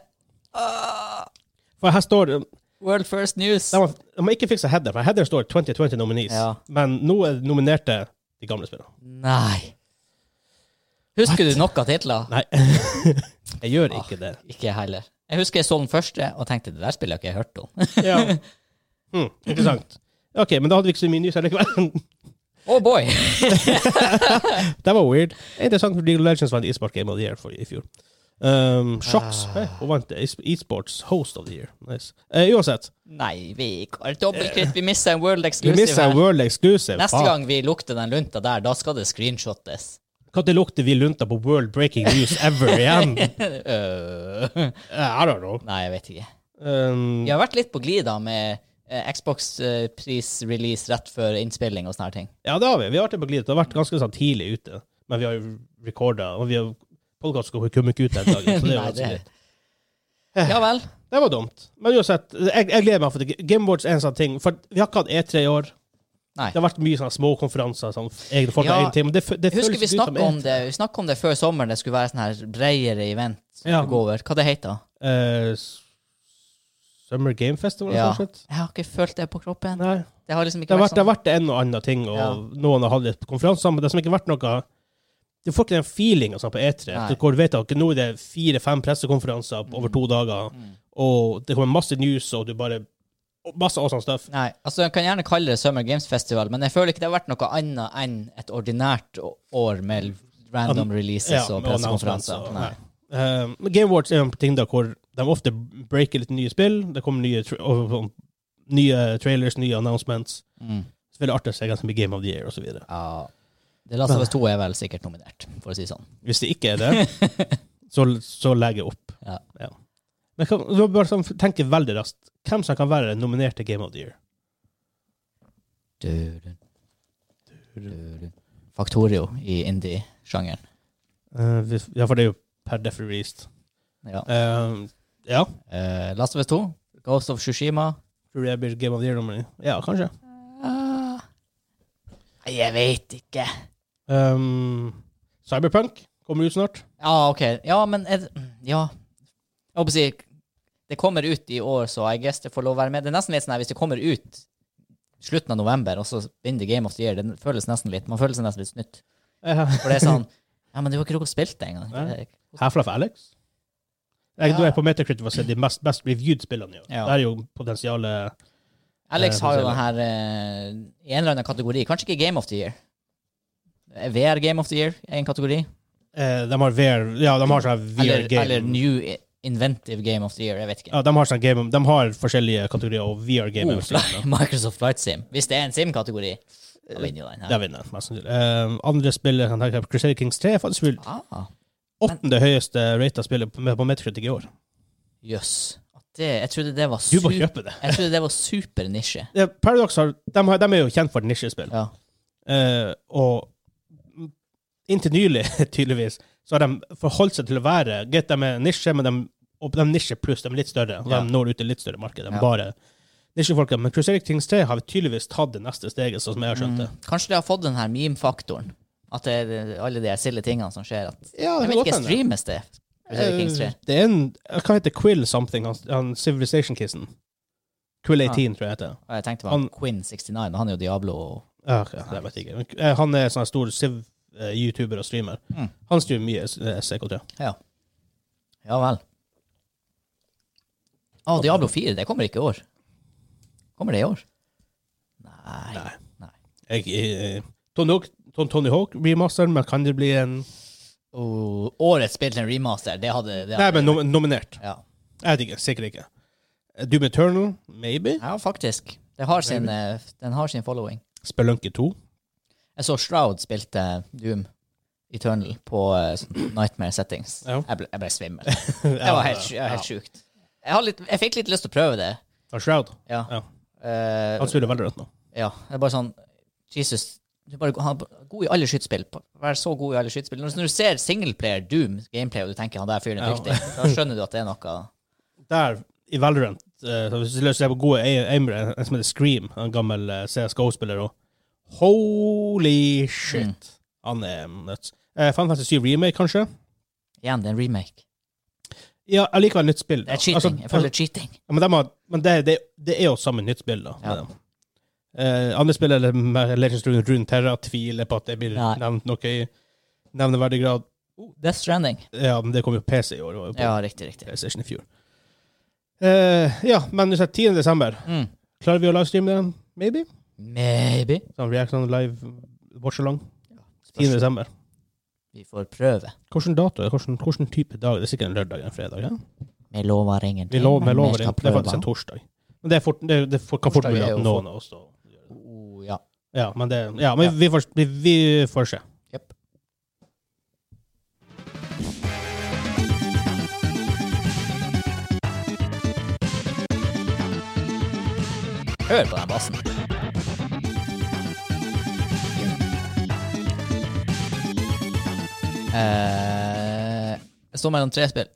Åh.
[LAUGHS] For her står det-
World First News.
De har, de har ikke fiksa header, for header står 2020 nominees.
Ja.
Men nå er de nominerte de gamle spillene.
Nei. Husker du nok av titler? [LAUGHS]
Nei. jeg gjør ikke det.
Ikke jeg heller. Jeg husker jeg så den første og tenkte det der spillet har ikke jeg hørt om. [LAUGHS]
Ja. Hmm, interessant. OK, men da hadde vi ikke så mye news likevel. [LAUGHS]
Oh boy!
Det var weird. Interessant for League of Legends vant e-sport Game of the Year for, i fjor. Um, Shocks
Ah.
eh, hun vant e- e-sports Host of the Year. Nice. Eh, uansett,
Nei, vi har dobbeltkritt. Vi mista en World
vi
Exclusive.
mista
her.
World Exclusive.
Neste gang vi lukter den lunta der, da skal det screenshottes.
Når lukter vi lunta på World Breaking News ever igjen?
[LAUGHS] [LAUGHS] Øh,
Eh, I don't know.
Nei, jeg vet ikke.
Um,
Vi har vært litt på glid da med eh, Xbox eh, pris-release rett før innspilling og sånne her ting.
Ja, det har vi. Vi har vært på glid. Det har vært ganske sånn tidlig ute. Men vi har jo recorda, og vi har podkast skal komme ikke ut den dagen. Så
[LAUGHS]
det er jo
Nei,
ganske
det-
greit.
Ja vel.
Det var dumt. Men uansett, jeg, jeg gleder meg, for det- Game Awards er en sånn ting. For vi har ikke hatt E3 i år.
Nei.
Det har vært mye sånne små konferanser, sånn egne folk
Ja,
ja, ting, men det, fø- det
Jeg husker
føles
vi
ikke ut som E-
snakka om
E3.
det Vi snakket om det før sommeren, det skulle være sånn her bredere event. som
Ja.
skulle gå over. Hva det heter det?
Eh, s- Summer Game Festival,
Ja.
kanskje?
Jeg har ikke følt det på kroppen.
Nei.
Det har liksom ikke
Det har, vært,
vært,
det har vært en og annen ting, og
Ja.
noen har hatt litt konferanser, men det har som ikke vært noe Du får ikke den feelinga på E3,
Nei.
hvor du vet at nå er det fire-fem pressekonferanser på over to
sånn.
dager,
Mm.
og det kommer masse news, og du bare og Masse awesome stuff.
Nei, altså En kan gjerne kalle det Summer Games Festival, men jeg føler ikke det har vært noe annet enn et ordinært å- år med random releases og
med announcements
pressekonferanser.
og-
Nei.
nei. Eh, men Game Awards er en ting der hvor de ofte breaker litt nye spill. Det kommer nye, tra og, og, nye trailers, nye announcements.
Mm.
Så veldig artig å se hvem som blir Game of the Year, og så videre
Ja. The Last of Us 2 er vel sikkert nominert, for å si det sånn.
Hvis det ikke er det,
[LAUGHS]
så, så legger jeg opp.
Ja.
Men kan, du må bare sånn, tenke veldig raskt. Hvem som kan være nominert til Game of the Year?
Dudun. Dudun. Factorio i indie-sjangeren.
Eh, hvis- ja, for det er jo per def released.
Ja.
Eh, ja.
Eh, Last of Us 2, Ghost of Tsushima
Tror du jeg blir Game of the Year-nominert? Ja, kanskje.
Ah. Nei, Jeg veit ikke.
Eh, Cyberpunk kommer ut snart.
Ja, OK. Ja, men er, det- mm, Ja. Jeg håper å si Det kommer ut i år, så I guess det får lov å være med. Det er nesten litt sånn her, hvis det kommer ut slutten av november, og så vinner Game of the Year, det føles nesten litt Man føler seg nesten litt snytt.
Uh,
For det er sånn [LAUGHS] Ja, men du har ikke rukket å spille det engang.
Nei.
Det er-
Half-Life Alex. Jeg, Du
Ja.
er på Metacritic for å se de mest, best reviewed spillene. i år.
Ja.
Det er jo potensialet
Alex
Eh,
har jo
får
den
se
her eh, i en eller annen kategori. Kanskje ikke Game of the Year. Eh, VR Game of the Year er en kategori.
eh, De har VR Ja, de har sånn
Eller,
VR-game.
eller New Inventive Game of the Year. Jeg vet ikke.
Ja, de har, sånn game, de har forskjellige kategorier, og VR-game
Oh, [LAUGHS]
[LAUGHS] er oh,
Fly- Microsoft Flight Sim. Hvis det er en sim-kategori,
Eh,
da vinner jo den
Der
her.
vinner jeg, mest sannsynlig. Eh, andre spillet kan tenke på Crusader Kings 3 er faktisk vel
Ah,
åttende høyeste rata spillet på, på Metacritic i år.
Jøss. At Det, jeg trodde det var
Du må
super-
kjøpe det.
Jeg trodde det var super nisje.
Eh, Paradox har, de, har, de er jo kjent for nisjespill.
Ja.
Eh, og inntil nylig, [LAUGHS] tydeligvis, så har de forholdt seg til å være Greit, de er nisje, men de, og de er nisje pluss, de er litt større. og
Ja.
De når ut til litt større marked. De
Ja.
bare nisjefolket. Men Crusader Kings 3 har tydeligvis tatt det neste steget, sånn som jeg har skjønt det.
Mm. Kanskje de har fått den her meme-faktoren. At det er alle de her silde tingene som skjer. At,
Ja, Eh,
jeg vet ikke, streames det? Crusader Kings 3.
Det er en eh, Hva heter Quill something? Han, han Civilization-kissen.
Ah.
Quill 18, tror jeg heter.
Og jeg tenkte på han,
Han-
Quinn69, han er jo Diablo. og-
Ja, ok, det vet jeg ikke. Men, eh, Han er sånn her stor Civ-youtuber og streamer.
Mm.
Han streamer mye eh, CK3.
Ja. ja vel. Å, Diablo 4, det kommer ikke i år. Kommer det i år? Nei.
Nei.
Nei.
Jeg, eh, Tony Hawk, Ton- Tony Hawk remasteren, men kan det bli en
Åh, årets spill til en remaster, det hadde, det
Nei,
hadde
men nom nominert.
ja.
Jeg vet ikke. Sikkert ikke. Eh, Doom Eternal, maybe.
ja, faktisk. Det har sin, eh, den har sin following.
Spelunky 2.
Jeg så Shroud spilte Doom Eternal på eh, sånn Nightmare Settings.
Ja.
Jeg, ble, jeg ble
[LAUGHS]
svimmel. Det var helt, sj- ja, helt sjukt. Jeg, har litt, jeg fikk litt lyst til å prøve det.
Ja. Shroud.
Ja.
Ja.
Eh,
Han spiller veldig rødt nå.
ja. Det er bare sånn Jesus, du er bare go- han er god i alle skytespill. På- Vær så god i alle skytespill. Når, når du ser singleplayer Doom gameplay, og du tenker han der fyren er
Ja.
dyktig, da skjønner du at det er noe
Der, i Valorant, eh, så hvis du løser det på gode ai- aimere, en som heter Scream, en gammel eh, CSGO-spiller og Holy shit!
Mm.
Han er nuts. Uh, Fan Fantasy 7 Remake, kanskje?
Igjen, det er en remake.
Ja, jeg liker et nytt spill.
Det
da.
er cheating.
Altså,
jeg føler det er cheating.
Ja, men de har, men det, det, det er jo samme nytt spill, da.
Ja.
med dem. Eh, andre spill, eller med Legends of Rune Terra, tviler på at det blir
Nei.
nevnt noe i nevneverdig grad.
Death Stranding.
Ja, men det kom jo PC i år, og på
Ja, riktig, riktig.
PlayStation i fjor. Eh, ja, men du sa 10. desember.
Mm.
Klarer vi å livestreame den? Maybe?
Maybe.
Sånn reaction live watch-along. 10.
Spørs.
desember.
Vi får prøve.
Hvilken dato? er det? Hvilken, hvilken type dag? Det er sikkert en lørdag eller en fredag? Ja?
Vi lover ingenting.
Vi lover, vi
men
lover
skal
det. Det er
prøve.
faktisk en torsdag. Men det, er fort, det, det kan fort
Torsdag
bli
er
at
jo
noen av oss da
Oh, ja.
Ja, men, det, ja, men
Ja.
Vi, får, vi, vi får se.
Jepp. Hør på den bassen. Eh, jeg står mellom tre spill.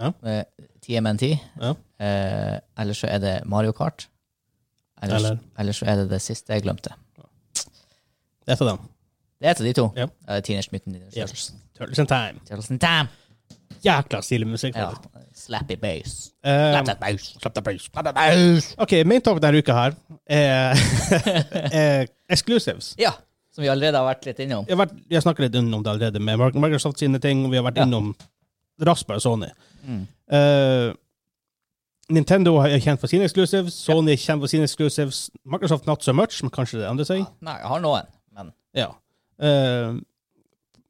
Ja.
Eh, TMNT.
Ja.
Eh, ellers så er det Mario Kart. Ellers,
Eller-
ellers så er det det siste jeg glemte.
Det er til dem.
Det er et av de to.
Ja.
Eh, Teenage Mutant Ninja
Ja.
Turtles.
Turtles in Time.
Turtles in Time.
Jækla stilig musikk.
Ja.
faktisk.
Slappy bass.
Um,
Slapp that bass.
slapp deg pris. OK, main topic denne uka her
[LAUGHS]
er, [LAUGHS] er exclusives.
Ja, som vi allerede har vært litt innom.
Vi har, vært, vi har snakket litt innom det allerede, med Mark- Microsoft sine ting, og vi har vært
Ja.
innom Rasper og Sony.
Mm.
Eh, Nintendo er kjent for sine exclusives, Sony er kjent for sine exclusives, Microsoft not so much, men kanskje det endrer seg.
Nei, jeg har noen, men
Ja. Eh,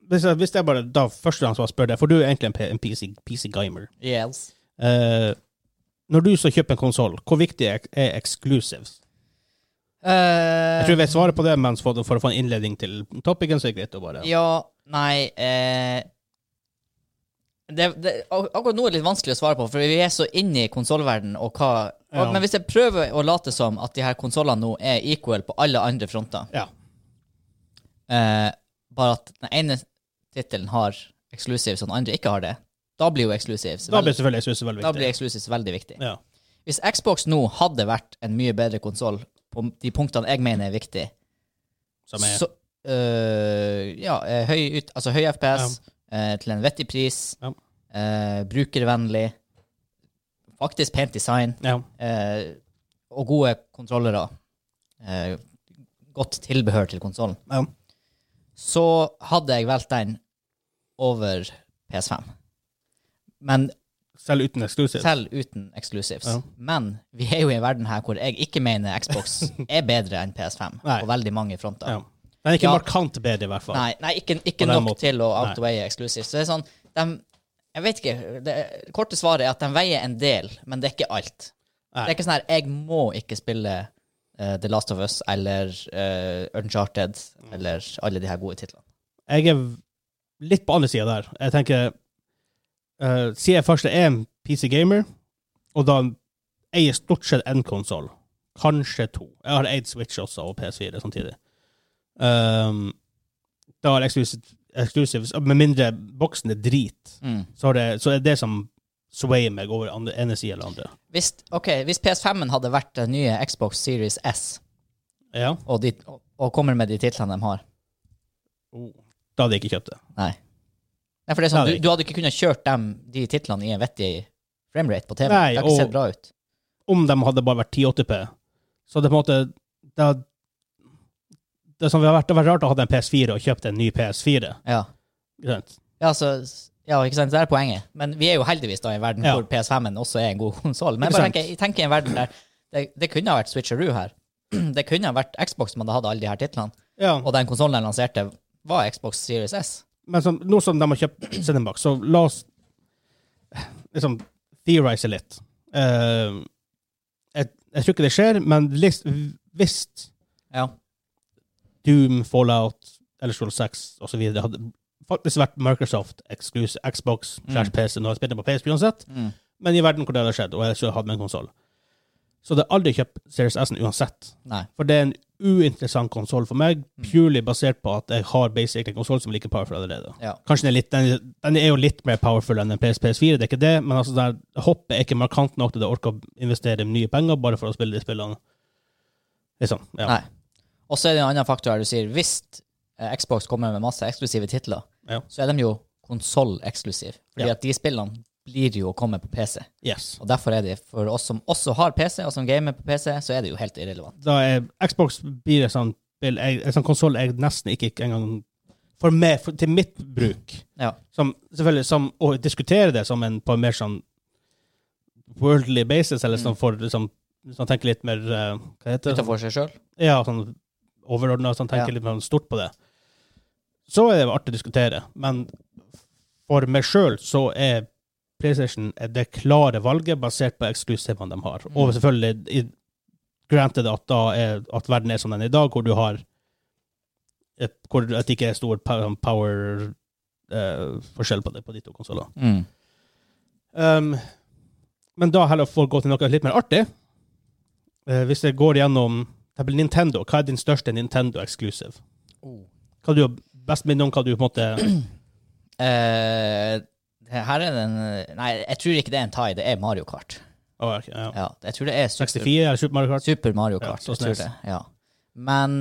hvis, jeg, hvis jeg bare da førstegangsvar spør deg, for du er egentlig en, P- en PC, PC-gamer
yes.
Eh, Når du så kjøper en konsoll, hvor viktig er, er exclusives?
Eh,
Jeg tror jeg vet svaret på det, men for, for å få en innledning til topicen, så er det greit å bare
Ja, nei eh, det, det, ak- Akkurat nå er det litt vanskelig å svare på, for vi er så inne i konsollverdenen og hva
Ja.
Men hvis jeg prøver å late som at de her konsollene nå er equal på alle andre fronter,
Ja.
eh, bare at den ene tittelen har exclusives og den andre ikke har det, da blir jo exclusives
Da
veld-
blir selvfølgelig exclusives veldig
da blir
viktig.
exclusives veldig viktig.
Ja.
Hvis Xbox nå hadde vært en mye bedre konsoll på de punktene jeg mener er viktig,
Som er
så øh, Ja, eh, høy, ut, altså høy FPS eh, til en vettig pris,
Ja.
eh, brukervennlig, faktisk pent design
ja.
eh, og gode kontrollere. Eh, godt tilbehør til konsollen.
Ja.
Så hadde jeg valgt den over PS5. Men
Selv uten exclusives.
selv uten exclusives.
Ja.
Men vi er jo i en verden her hvor jeg ikke mener Xbox
[LAUGHS]
er bedre enn PS5
Nei.
på veldig mange fronter.
Ja. Den er ikke
Ja.
markant bedre, i hvert fall.
Nei, nei, ikke, ikke
På den
nok
måten.
til å
Nei.
outweie exclusives. Så det er sånn, dem- jeg vet ikke, det korte svaret er at de veier en del, men det er ikke alt.
Nei.
Det er ikke sånn her, jeg må ikke spille eh, The Last of Us eller eh, Uncharted
Mm.
eller alle de her gode titlene.
Jeg er litt på andre sida der. Jeg tenker eh, Siden jeg først er en PC-gamer, Og da eier jeg stort sett én konsoll. Kanskje to. Jeg har eid Switch også, og PS4 samtidig. Um, da har exclusive- exclusives Med mindre boksen er drit,
Mm.
så, har det, så er det som swayer meg over andre, ene sida eller andre.
Hvis, ok, hvis PS5-en hadde vært den nye Xbox Series S,
Ja.
og, de, og, og kommer med de titlene de har
Oh. Da hadde jeg ikke kjøpt det.
Nei. Nei for det er sånn,
Nei,
du,
det-
du hadde ikke kunnet kjørt dem, de titlene i en vettig framerate på TV.
Nei,
det har ikke
og-
sett bra ut.
om de hadde bare vært 1080p. Så det på en måte Det, det som hadde vært, det hadde vært rart å ha en PS4 og kjøpt en ny PS4.
Ja.
ikke sant?
Ja, så, ja, ikke sant, det er poenget. Men vi er jo heldigvis da i en verden
Ja.
hvor PS5-en også er en god [LAUGHS] konsoll. Men
Ikke
jeg bare
sant?
tenker, jeg tenker i en verden der det, det kunne ha vært Switcheroo her. [CLEARS THROAT] Det kunne ha vært Xbox man hadde hatt alle de her titlene.
Ja,
Og den konsollen jeg lanserte, var Xbox Series S.
Men som, nå som de har kjøpt Cinemax, så la oss liksom theorize litt. Eh, jeg, jeg tror ikke det skjer, men hvis hvis
Ja.
Doom, Fallout, Elder Scrolls 6 osv. hadde faktisk vært Microsoft, exclusive, Xbox, slash PC, når jeg spilte på PSP uansett,
Mm.
Men i verden hvor det hadde skjedd, og jeg skulle hatt med en konsoll. Så det er aldri kjøpt Series S-en uansett.
Nei.
For det er en uinteressant konsoll for meg,
Mm.
purely basert på at jeg har basic en konsoll som er like powerful allerede.
Ja.
Kanskje den er, litt, den, den er jo litt mer powerful enn en PS, PS4, det er ikke det, men altså der, hoppet er ikke markant nok til at jeg orker å investere mye penger bare for å spille de spillene. Liksom, ja.
Nei. Og så er det en annen faktor her du sier, hvis eh, Xbox kommer med masse eksklusive titler,
Ja.
så er de jo konsoll-eksklusive. Fordi
Ja.
at de spillene blir jo å komme på PC.
Yes.
Og derfor er det for oss som også har PC, og som gamer på PC, så er det jo helt irrelevant.
Da er Xbox blir en sånn, spill- en sånn konsoll jeg nesten ikke engang For meg, for, til mitt bruk.
Ja.
som selvfølgelig som, å diskutere det som en på en mer sånn worldly basis, eller sånn for liksom, hvis man tenker litt mer eh, Hva heter det?
Mm. Utenfor seg sjøl.
Ja, sånn overordna, sånn tenker
Ja.
litt mer stort på det. Så er det artig å diskutere, men for meg sjøl så er PlayStation er det klare valget basert på eksklusivene de har. Og selvfølgelig i, granted at, da er, at verden er som den er i dag, hvor du har et, hvor at det ikke er stor power, power eh, forskjell på, det, på de to konsollene.
Mm.
Um, men da heller for å gå til noe litt mer artig. Eh, hvis jeg går gjennom for eksempel Nintendo, hva er din største Nintendo exclusive? Hva du har best minne om hva du på en måte [CLEARS THROAT]
Eh, her er den Nei, jeg tror ikke det er en tie, det er Mario Kart.
Å, ok, ja.
Ja, jeg tror det er Super,
64 eller Super Mario Kart?
Super Mario
Ja,
Kart.
så
jeg tror
snes.
det, ja. Men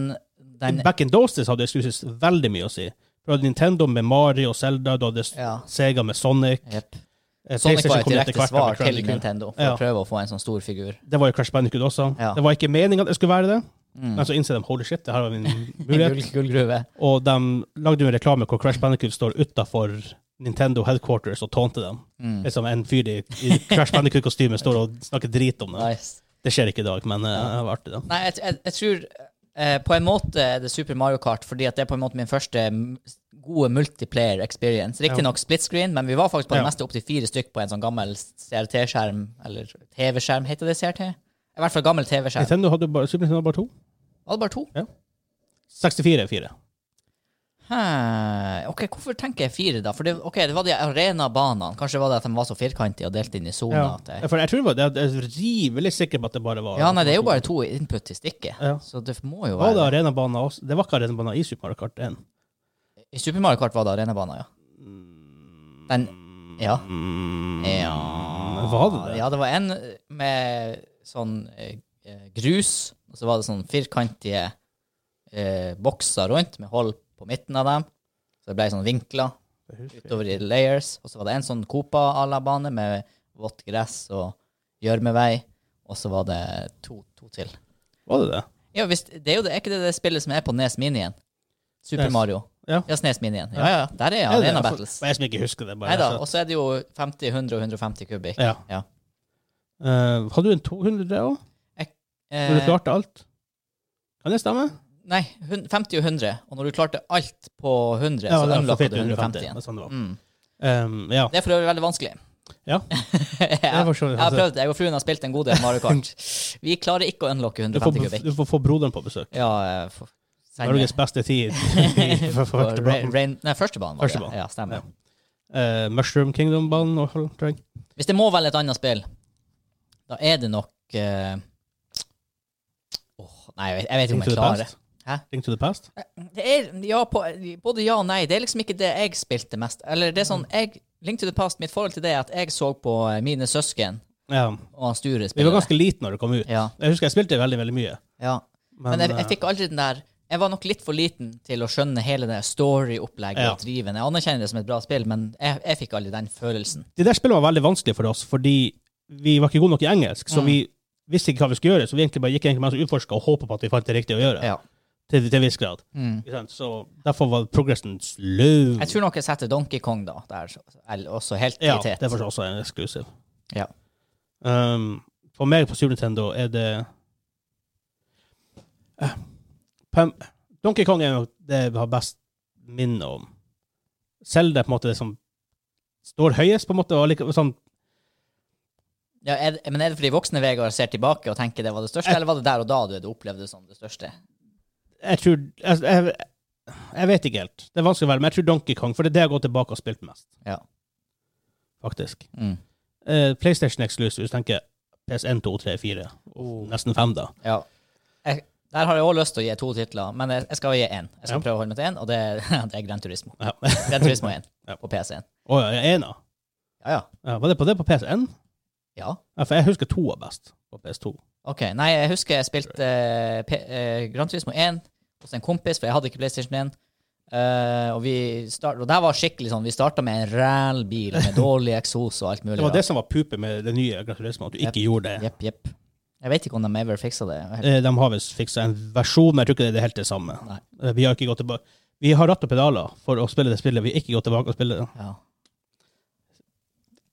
den
Back in those days hadde exclusives veldig mye å si. Du hadde Nintendo med Mario og Zelda, du hadde
Ja.
Sega med Sonic.
Jepp.
eh,
Sonic
PlayStation
var et
kom etter
direkte
hvert, men
svar
Crash
til
Bandicoot.
Nintendo for
Ja.
å prøve å få en sånn stor figur.
Det var jo Crash Bandicoot også.
Ja.
Det var ikke meninga at det skulle være det,
Mm.
men så innser de holy shit, det her var
[LAUGHS]
min mulighet.
Gull, gullgruve.
Og de lagde jo en reklame hvor Crash Bandicoot står utafor Nintendo Headquarters og tånte dem.
Mm.
Liksom En fyr i, i Crash Bandicoot-kostyme står og snakker drit om det.
Nice.
Det skjer ikke i dag, men eh, det var artig, da.
Nei, jeg, jeg, jeg tror eh, på en måte er det Super Mario Kart, fordi at det er på en måte min første m- gode multiplayer experience. Riktignok split screen, men vi var faktisk på det
Ja.
meste opptil fire stykk på en sånn gammel CRT-skjerm, eller TV-skjerm, heter det CRT? I hvert fall gammel TV-skjerm.
Nintendo hadde jo bare, Super Nintendo hadde bare to.
Var det bare to?
64 er fire.
Hæ. Ok, hvorfor tenker jeg fire, da? For det, ok, det var de arenabanene. Kanskje det var det at de var så firkantige og delt inn i soner.
Ja.
at det-
For jeg tror det var, jeg er rivelig sikker på at det bare var
Ja, nei, det er jo bare to input til stikket,
Ja.
så det må jo
Var
være
det arenabaner også? Det var ikke arenabaner i Super Mario Kart 1.
I Super Mario Kart var det arenabaner, ja. Den Ja. Ja.
Var det det?
Ah, Ja, det var en eh, med sånn eh, eh, grus, og så var det sånn firkantige eh, bokser rundt med hull på midten av dem. Så det ble sånn vinkler utover i layers. Og så var det en sånn Copa à la bane med vått gress og gjørmevei. Og så var det to, to til.
Var det det?
Ja, visst, det er jo det, er ikke det det spillet som er på E Nes Minien? Super
Nes.
Mario.
Ja.
Ja, E Snes Minien. Ja, ja, der er
Er det
Arena
det?
Battles.
Jeg som ikke husker det. bare.
Nei da.
Så-
Og så er det jo 50, 100 og 150 kubikk.
Ja.
Ja.
Eh, hadde du en 200 òg? Når du
Eh,
klarte alt? Kan det stemme?
nei, hun- 50 og 100. Og når du klarte alt på 100,
Ja,
så
det er
unlocka du
150,
150 igjen.
det er Sånn det var.
Mm.
Um, ja.
Det er for øvrig veldig vanskelig. [LAUGHS]
Ja.
jeg,
var så-
jeg har prøvd. Jeg og fruen har spilt en god del Mario Kart. Vi klarer ikke å unlocke
Du får,
150 kubikk.
du får få broderen på besøk.
Ja, eh, for,
Norges beste tid. [LAUGHS] for, for,
På
for,
Rain- Rain- Nei, førstebanen. var det.
Førstebanen.
Ja, stemmer.
Ja. Eh, Mushroom Kingdom-banen. og- tror jeg.
Hvis det må velge et annet spill Da er det nok eh, Åh, Nei, jeg vet, jeg vet ikke om
Link to
jeg
the
klarer det.
past.
Hæ?
Link to the past?
Det er, ja, på, både ja og nei. Det er liksom ikke det jeg spilte mest. Eller det er
Mm.
sånn, jeg, Link to the Past, mitt forhold til det er at jeg så på eh, mine søsken
Ja.
og han Sture
Vi
spille.
var ganske liten når det kom ut.
Ja.
Jeg husker jeg spilte veldig, veldig mye.
ja. Men, jeg,
eh,
jeg fikk aldri den der Jeg var nok litt for liten til å skjønne hele det story-opplegget
Ja.
og driven. Jeg anerkjenner det som et bra spill, men jeg, jeg fikk aldri den følelsen.
De der spillene var veldig vanskelige for oss, fordi vi var ikke gode nok i engelsk, så
Mm.
vi visste ikke hva vi skulle gjøre, så vi egentlig bare gikk egentlig mest og utforska og håpa på at vi fant det riktige å gjøre.
Ja.
Til, til en viss grad.
Mm.
Ikke sant? Så derfor var progressen slow.
Jeg tror nok jeg setter Donkey Kong da, der, eller også helt i
ja,
tet.
det er for også en eksklusiv.
Ja.
Um, for meg på Super Nintendo er det Eh, Pam- Donkey Kong er jo det jeg har best minne om. Zelda er på en måte det som står høyest, på en måte. Og like, sånn,
Ja, er, det- men er det fordi voksne Vegard ser tilbake og tenker det var det største,
Jeg-
eller var det der og da du, du opplevde det som det største?
jeg tror jeg, jeg, jeg vet ikke helt. Det er vanskelig å velge, men jeg tror Donkey Kong, for det er det jeg har gått tilbake og spilt mest.
Ja.
Faktisk.
Mm.
Eh, PlayStation Exclusive, hvis du tenker PS1, 2, 3, 4.
Oh.
og Nesten 5, da.
Ja. Jeg, der har jeg òg lyst til å gi to titler, men jeg, jeg skal gi én. Jeg skal
Ja.
prøve å holde meg til én, og det, er- [LAUGHS] det er Gran Turismo.
Ja. [LAUGHS]
Gran Turismo 1
Ja.
på PC1.
Å ja, ena.
Ja, ja.
Ja, var det på det på PS1?
Ja.
Ja, for jeg husker to er best på PS2.
OK. Nei, jeg husker jeg spilte eh, P eh, Gran Turismo 1 hos en kompis, for jeg hadde ikke PlayStation 1. Eh, og vi start, og der var skikkelig sånn Vi starta med en ræl bil med
[LAUGHS]
dårlig eksos og alt mulig.
Det var
rart.
det som var pupet med det nye Gran Turismo, at du ikke gjorde det.
Jepp, jepp. Jeg vet ikke om de ever fiksa det.
Eh, De har visst fiksa en versjon, men jeg tror ikke det er helt det samme.
Nei.
Eh, Vi har ikke gått tilbake Vi har ratt og pedaler for å spille det spillet. Vi har ikke gått tilbake og spille det.
Ja.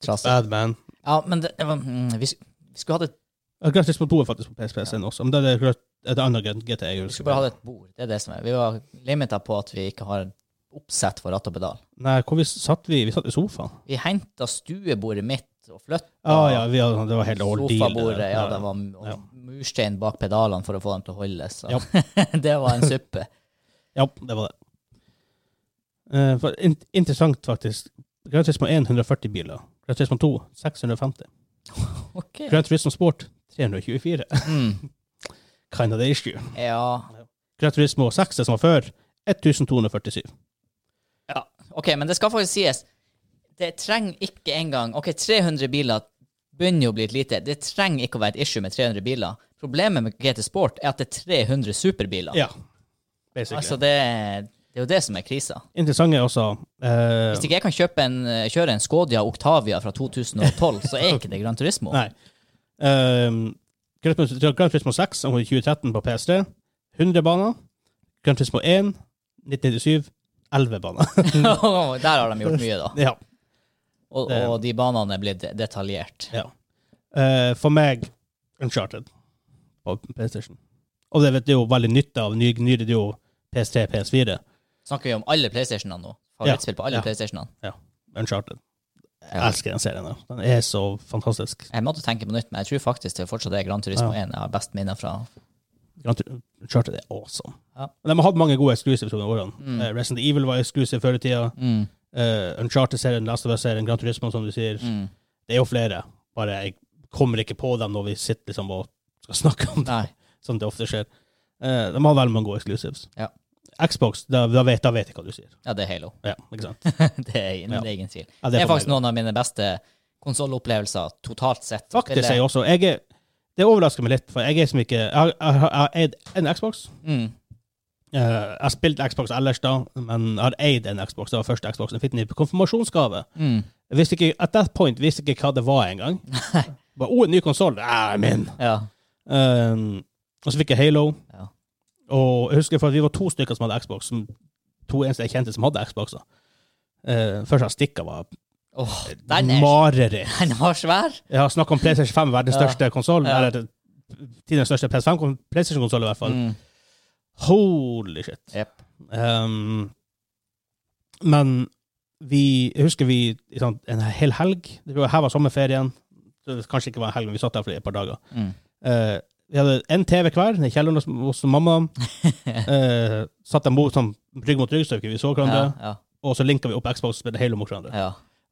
Trasig.
Bad man.
Ja, men det, det var- mm, vi, sk- vi skulle hatt et,
Eh, Gran Turismo 2 er faktisk på PS1 også, men det er det et annet G- GTA. jeg
vi
husker.
skulle bare hatt et bord. Det er det som er. Vi var limita på at vi ikke har oppsett for ratt og pedal.
Nei, hvor vi satt vi? Vi satt i sofaen.
Vi henta stuebordet mitt og flytta
Ja, Ah, ja, vi hadde, sånn- det var hele ordeal. det der.
sofabordet. Ja, det var m-
Ja.
murstein bak pedalene for å få dem til å holde. Så
Ja.
[LAUGHS] det var en
[LAUGHS]
suppe.
Ja, det var det. Eh, for, in interessant, faktisk. Gran Turismo 1 140 biler. Gran Turismo 2 650.
Ok.
Gran Turismo Sport 324.
Mm.
[LAUGHS] Kind of the issue.
Ja.
Gran Turismo 6, det som var før, 1247.
Ja, ok, men det skal faktisk sies. Det trenger ikke engang Ok, 300 biler begynner jo å bli et lite. Det trenger ikke å være et issue med 300 biler. Problemet med GT Sport er at det er 300 superbiler.
Ja, basically.
altså, det, det er jo det som er krisa.
Interessant er også eh,
Hvis ikke jeg kan kjøpe en, eh, kjøre en Skodia Octavia fra 2012, så er ikke det Gran Turismo. [LAUGHS]
Nei. Ehm, Gran Turismo- Gran Turismo 6 om 2013 på PS3, 100 baner. Gran Turismo 1, 1997, 11 baner. [LAUGHS]
Der har de gjort mye, da.
ja.
Og, og de banene er blitt detaljert.
Ja. Eh, for meg, Uncharted på PlayStation. Og det vet du jo veldig nytte av. Ny, nylig det er jo PS3, PS4,
Snakker vi om alle PlayStationene nå?
Ja,
Favorittspill på alle
ja.
PlayStationene?
Uncharted. Jeg
Ja.
elsker den serien. da. Den er så fantastisk.
Jeg måtte tenke på nytt, men jeg tror faktisk det fortsatt er Gran Turismo 1 jeg har best minner fra.
Gran Tur- Uncharted er awesome.
Ja.
De har hatt mange gode eksklusiver gjennom årene.
Mm.
Eh, Resident Evil var eksklusiv før i tida.
Mm,
Eh, Uncharted-serien, Last of Us-serien, Gran Turismo, som du sier.
mm.
Det er jo flere. Bare jeg kommer ikke på dem når vi sitter liksom og skal snakke om det.
Nei.
som Sånn det ofte skjer. Eh, de har veldig mange gode exclusives.
Ja.
Xbox, da, da, vet, da vet jeg hva du sier.
Ja, det er Halo. [LAUGHS]
Ja, ikke sant?
Det er, ingen- det er ingen tvil.
Ja,
Det er
for
faktisk
meg.
noen av mine beste konsollopplevelser totalt sett.
Faktisk er
Spiller-
jeg også jeg er, Det overrasker meg litt, for jeg er som ikke Jeg har- jeg har jeg har eid en Xbox.
Mm.
Eh, jeg har spilt Xbox ellers, da, men jeg har eid en Xbox. Det var første Xboxen jeg fikk den i konfirmasjonsgave.
Mm.
Jeg visste ikke, at that point visste ikke hva det var engang.
[LAUGHS]
Bare, oh, en ny konsoll! Ah, min!
Ja.
Um, og så fikk jeg Halo.
Ja.
Og jeg husker for at vi var to stykker som hadde Xbox. Som, to eneste jeg kjente som hadde Xboxer. Uh, først jeg stikka var
Åh, den, er,
mareritt.
den var svær!
Jeg har snakket om PlayStation 5, verdens
Ja.
største konsoll.
Ja.
Eller tidens største PS5-konsoll, PlayStation-konsoll i hvert fall.
Mm.
Holy shit.
Jepp.
Um, men vi jeg husker vi i sånn, en hel helg Det var her var sommerferien. Det kanskje ikke var en helg, men vi satt der for et par dager.
Mm.
Eh, vi hadde én TV hver nede i kjelleren hos, hos
[LAUGHS]
mamma. Eh, satt dem mot, sånn, rygg mot rygg, så vi ikke vi så hverandre.
Ja, ja,
Og så linka vi opp Xbox og spilte Halo mot hverandre.
ja.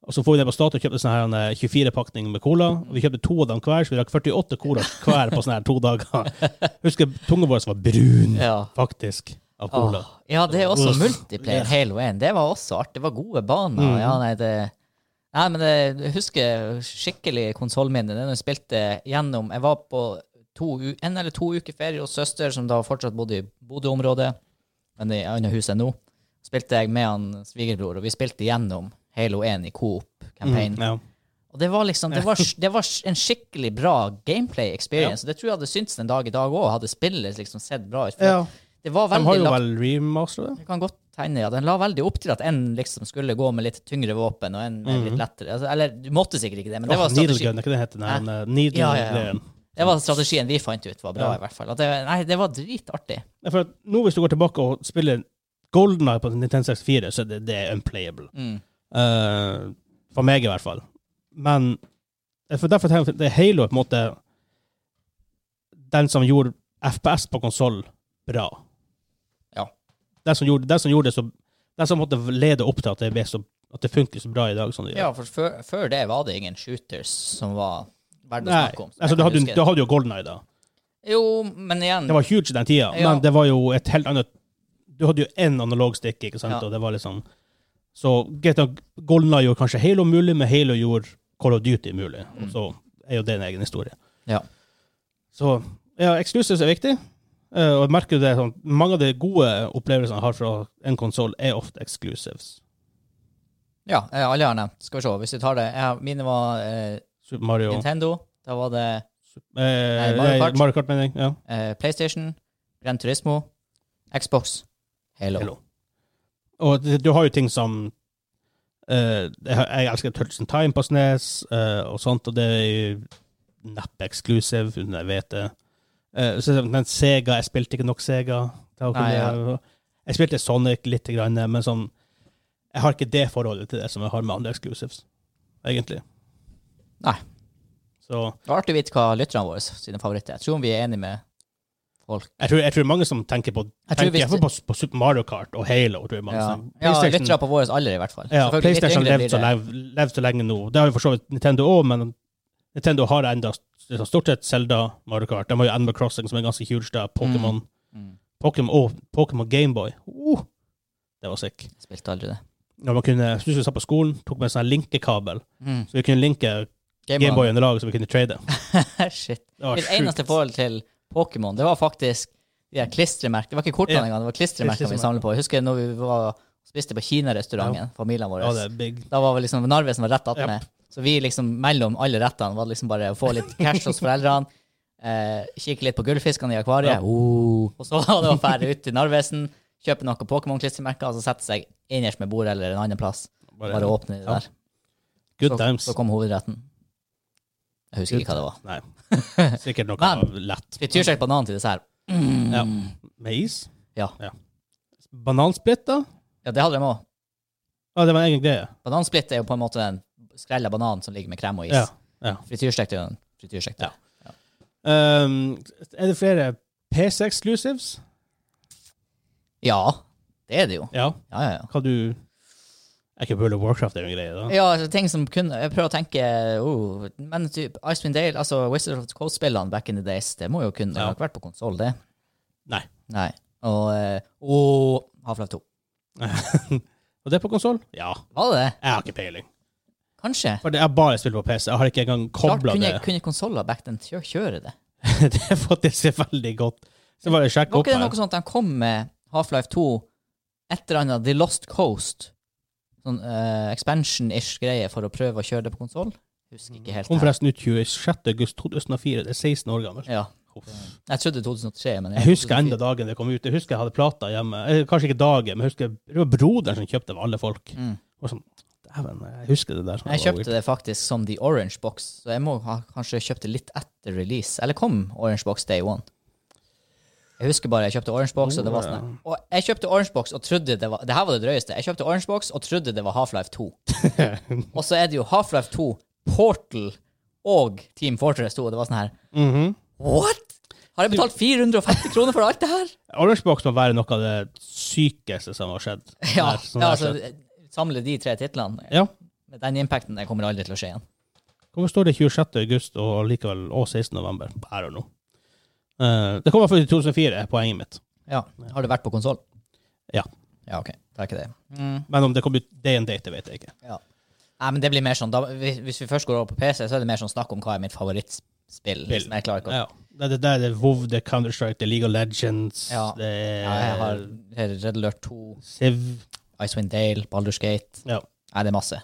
Og så får vi det på Statoil og kjøpte sånne her 24-pakning med cola. Og vi kjøpte to av dem hver, så vi drakk 48 cola hver på sånne her to dager.
[LAUGHS]
Husker tunga vår var brun,
Ja.
faktisk, av cola.
Åh, ja, det er også
Uff.
multiplayer
Ja.
Halo 1. Det var også artig. Det var gode baner.
Mm.
Ja, nei, det... Nei, men det, jeg husker skikkelig konsollminne. Det er når jeg spilte gjennom Jeg var på to, u- en eller to uker ferie hos søster, som da fortsatt bodde i Bodø-området, men i annet hus enn nå. Spilte jeg med han svigerbror, og vi spilte gjennom Halo 1 i Coop-campaign.
Mm, ja.
Og det var liksom, det var, det var en skikkelig bra gameplay experience. Og det tror jeg hadde syntes den dag i dag òg, hadde spillet liksom sett bra ut. For
Ja.
Det var
De har
veldig
jo
lagt,
vel remasteret det?
det kan godt tegne, ja. Den la veldig opp til at en liksom skulle gå med litt tyngre våpen og en med litt lettere. Altså, eller du måtte sikkert ikke det, men det
Mhm. Åh,
var,
Needle
strategi,
gun, er ikke det det heter?
Hæ?
Den, eh, needle
Ja, ja, ja.
gun.
det var strategien vi fant ut var bra,
Ja.
i hvert fall. At det, nei, det var dritartig.
Nei, For at nå hvis du går tilbake og spiller Golden Eye på Nintendo 64, så er det, det er unplayable.
Mm.
Eh, for meg, i hvert fall. Men eh, for derfor tenker jeg at det er Halo på en måte den som gjorde FPS på konsoll bra.
Ja.
Den som gjorde, den som gjorde det så Den som måtte lede opp til at det, ble så, at det funker så bra i dag som det gjør.
Ja, for før, før det var det ingen shooters som var verdt å
Nei,
snakke om. så jeg
altså, da,
kan
hadde,
huske
du- da hadde du jo Golden Eye, da.
det. Jo, men igjen
Det var huge den tida,
Ja.
men det var jo et helt annet Du hadde jo én analog stick, ikke sant,
Ja.
og det var liksom Så GTA Golna gjorde kanskje Halo mulig, men Halo gjorde Call of Duty mulig. Og så er jo det en egen historie.
Mm. Ja.
Så ja, exclusives er viktig. eh, og jeg merker jo det sånn, Mange av de gode opplevelsene jeg har fra en konsoll, er ofte exclusives.
Ja, eh, alle har nevnt. Skal vi se, hvis vi tar det ja, Mine var eh,
Super Mario eh,
Nintendo. Da var det
nei,
Mario
Mario
Kart.
Kart, mener jeg. Ja.
eh, PlayStation, Gran Turismo, Xbox, Halo.
Halo. Og det- du har jo ting som eh, Jeg har- jeg elsker Touch and Time på Snes eh, og sånt, og det er jo neppe exclusive, uten jeg vet det. Eh, så- men Sega Jeg spilte ikke nok Sega. til å
Nei,
kunne- Jeg spilte Sonic litt, grann, men sånn Jeg har ikke det forholdet til det som jeg har med andre exclusives, egentlig.
Nei.
Så
Det var artig å vite hva lytterne våre sine favoritter er. Jeg tror vi er enige med folk.
jeg tror, jeg tror mange som tenker på
Jeg tror
tenker,
hvis-
i hvert fall på, på Super Mario Kart og Halo. Tror jeg mange
Ja,
som-
ja
PlayStation-
lyttere på vår alder, i hvert fall.
Ja,
Selvfølgelig, litt
PlayStation
yngre blir
levd så,
det.
lev, levd så lenge nå. Det har jo for så vidt Nintendo òg, men Nintendo har enda liksom, stort sett Zelda, Mario Kart. De har jo Animal Crossing, som er ganske huge, da. Pokémon
Mm.
Pokémon og Pokémon Gameboy. Uh, det var sick.
Jeg Spilte aldri det.
Når man kunne, jeg husker vi satt på skolen, tok med en sånn her linkekabel,
Mm.
så vi kunne linke Gameboy under laget, så vi kunne trade.
[LAUGHS] Shit.
Det var
Mitt eneste
sjukt.
forhold til Pokémon, det var faktisk de her klistremerkene. Det var ikke kortene
Ja.
engang, det var klistremerkene vi
Klistremerker.
samlet på. Jeg husker når vi var, spiste på Kina-restauranten, familien vår.
Ja, det er big.
Da var vel liksom Narvesen var rett attmed.
Japp.
Så vi liksom mellom alle rettene var det liksom bare å få litt cash hos foreldrene. [LAUGHS] Eh, kikke litt på gullfiskene i akvariet.
Ja.
Oh. Og så var det å fære ut til Narvesen, kjøpe noen Pokémon-klistremerker og så sette seg innerst med bordet eller en annen plass. Bare
Bare,
åpne det
Ja.
der.
good
så,
times.
så kom hovedretten. Jeg husker ikke
Good
hva det var. [LAUGHS]
Nei. Sikkert noe
Men-
lett.
Frityrstek banan til dessert. [CLEARS THROAT]
Ja. Med is?
Ja.
Banansplitt, da?
Ja, det hadde de òg.
Ja, det var en egen greie.
Banansplitt er jo på en måte den skrella bananen som ligger med krem og is.
Ja. ja.
Frityrstek er jo en frityrstek.
Ja. Um, er det flere PC exclusives?
ja, det er det jo.
Ja.
Ja, ja, ja.
Hva du Er ikke World of Warcraft er jo en greie, da?
Ja, altså, ting som kun Jeg prøver å tenke oh, Men typ Icewind Dale, altså Wizard of the Coast-spillene back in the days, det må jo kun Det
Ja.
har ikke vært på konsoll, det.
Nei.
Nei. Og, eh, og Half-Life 2.
Og det er på konsoll? Ja.
Var det det?
Jeg har ikke peiling.
Kanskje?
For det er bare spilt på PC. Jeg har ikke engang
Klart,
kobla
kunne,
det.
kunne konsoller back then kjø- kjøre det?
[LAUGHS] det er faktisk veldig godt. Så bare sjekk
Var
opp
ikke det
her.
noe sånt at de kom med Half-Life 2, et eller annet The Lost Coast? Sånn eh, expansion-ish greie for å prøve å kjøre det på konsoll? Husker ikke helt.
Kom
det her.
forresten ut 26. august 2004. Det er 16 år gammel.
Ja.
Uff.
Jeg trodde 2003, men
Jeg husker enda dagen det kom ut. Jeg husker jeg hadde plata hjemme. Eh, Kanskje ikke dagen, men jeg husker det var broderen som kjøpte det av alle folk.
Mm.
Og sånn, Dæven, jeg husker det der.
Jeg kjøpte det faktisk som The Orange Box, så jeg må ha kanskje kjøpt det litt etter release. Eller kom Orange Box Day One? Jeg husker bare jeg kjøpte Orange Box, og det var sånn her. Og jeg kjøpte Orange Box og trodde det var Det her var det drøyeste. Jeg kjøpte Orange Box og trodde det var Half-Life
[LAUGHS]
2. og så er det jo Half-Life 2, Portal og Team Fortress 2, og det var sånn her
Mhm.
What?! Har jeg betalt 450 kroner for alt det
[LAUGHS]
her?!
Orange Box må være noe av det sykeste som har skjedd.
Ja,
Nei,
[LAUGHS]
sånn
ja
her
altså
skjedd.
Samle de tre titlene.
ja.
Men den impacten den kommer aldri til å skje igjen.
Hvorfor står det 26. august og likevel og 16. november? I don't know. Eh, det kommer fra 2004, er poenget mitt.
Ja. Har du vært på konsoll?
Ja.
Ja, OK. Det er ikke det. Mm.
Men om det kom ut day and date, det vet jeg ikke.
Ja. Nei, men det blir mer sånn, da, hvis hvis vi først går over på PC, så er det mer sånn snakk om hva er mitt favorittspill. Liksom. Jeg klarer ikke å...
Ja. Det, det, det er WoW, det er Counter-Strike, det er League of Legends,
Ja.
det er
Ja, jeg har her er Red Alert 2,
Civ.
Icewind Dale, Baldur's Gate.
Ja.
Nei, det er masse.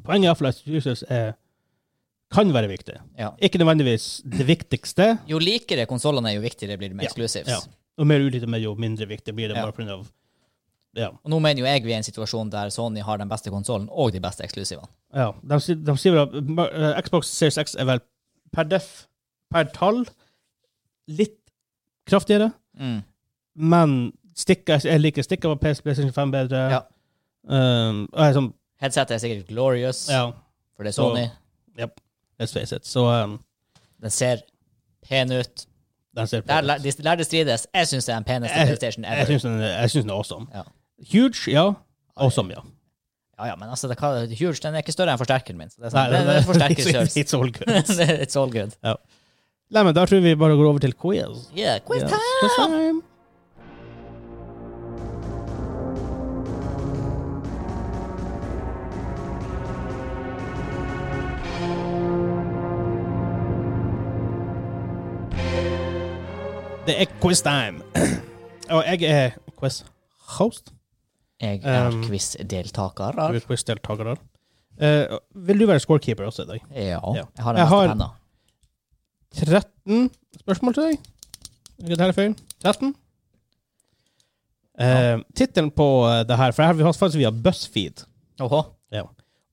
Poenget er iallfall at Jesus er, kan være viktig.
Ja.
Ikke nødvendigvis det viktigste,
Jo likere konsollene er, jo viktigere blir det med
Ja,
exclusives.
ja. og mer ulite med jo mindre viktig blir det.
Ja.
bare på grunn av ja.
Og nå mener jo jeg vi er i en situasjon der Sony har den beste konsollen og de beste eksklusivene.
Ja, de, sier- de sier vel at ma- eh, Xbox Series X er vel per def, per tall, litt kraftigere,
Mm.
men stikker, jeg liker stikker på PS, PlayStation 5 bedre.
Ja.
Um, og jeg er sånn,
Headsetet er sikkert glorious,
ja,
for det er Sony.
let's face it. Så um,
Den ser pen ut.
den ser på.
Der, lær- de lærde strides. Jeg syns det er den peneste
Jeg-
PlayStation
Jeg
ever.
syns den, er- jeg synes den er awesome.
Ja.
Huge, ja. Awesome, ja.
Ja, ja, men altså, det, hva, Huge den er ikke større enn forsterkeren min. Så det er
Nei,
sånn, [LAUGHS] det, det, er forsterker
[LAUGHS] it's,
størrelse.
it's all good.
It's all good.
Nei, men da tror vi bare går over til quiz.
Yeah, quiz
Yes,
time!
quiz time. Det er quiz time. [CLEARS THROAT] Og jeg er quiz-host.
Jeg er
Um,
quiz-deltaker.
Du er quiz-deltaker. Eh, vil du være scorekeeper også i dag?
Ja.
Ja.
Jeg har
Jeg
den
har-
beste penna.
13 spørsmål til deg. Er det her feil? 13? Eh, Tittelen på eh, det her, for her har vi hatt faktisk via BuzzFeed
Åhå.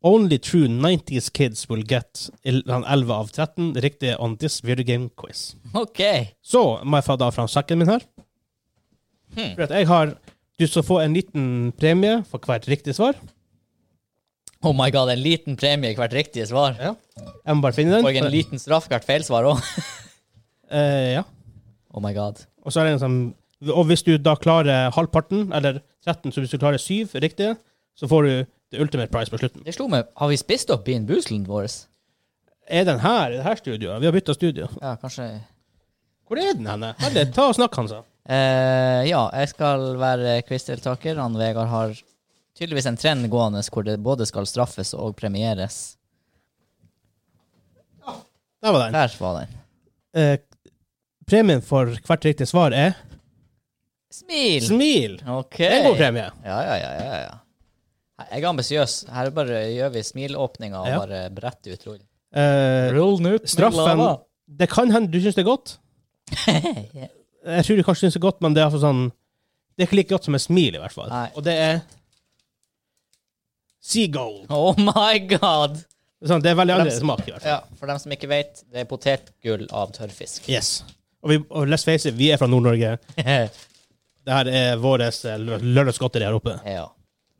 Only true 90s kids will get el- han 11 av 13 riktig on this video game quiz.
OK.
Så må jeg få da fram sekken min her.
Hmm.
For at jeg har Du skal få en liten premie for hvert riktig svar.
Oh my god, en liten premie i hvert riktige svar.
Jeg må bare finne
Og en
den.
liten straff hvert feilsvar òg.
Eh, ja.
[LAUGHS] Oh my god.
Og så er det en sånn Og hvis du da klarer halvparten, eller 13, så hvis du klarer 7 riktig, så får du the ultimate prize på slutten.
Det slo meg. Har vi spist opp Bean Boozlen vår?
Er den her i det her studioet? Vi har bytta studio.
Ja, kanskje
Hvor er den henne? Veldig, ta og snakk, Hansa.
eh, Ja, jeg skal være quizdeltaker. Han Vegard har tydeligvis en trend gående hvor det både skal straffes og premieres.
Der var den.
Der var den.
Eh, premien for hvert riktig svar er
Smil!
smil.
OK.
Det er en god
Ja,
premie.
ja, ja. ja, ja. Nei, Jeg er ambisiøs. Her bare gjør vi smilåpninga og
Ja.
bare bretter ut
[LAUGHS]
rullen.
Eh,
Rullen ut
straffen Det kan hende du syns det er godt. Jeg tror du kanskje syns det er godt, men det er altså sånn Det er ikke like godt som et smil, i hvert fall.
Nei.
Og det er Seagold.
Oh my god!
Sånn, det er veldig annerledes smak, i hvert fall.
Ja, for dem som ikke vet, det er potetgull av tørrfisk. [LAUGHS]
Yes. Og, vi, og let's face it, vi er fra Nord-Norge. Det her er vårt lørdagsgodteri her oppe.
ja.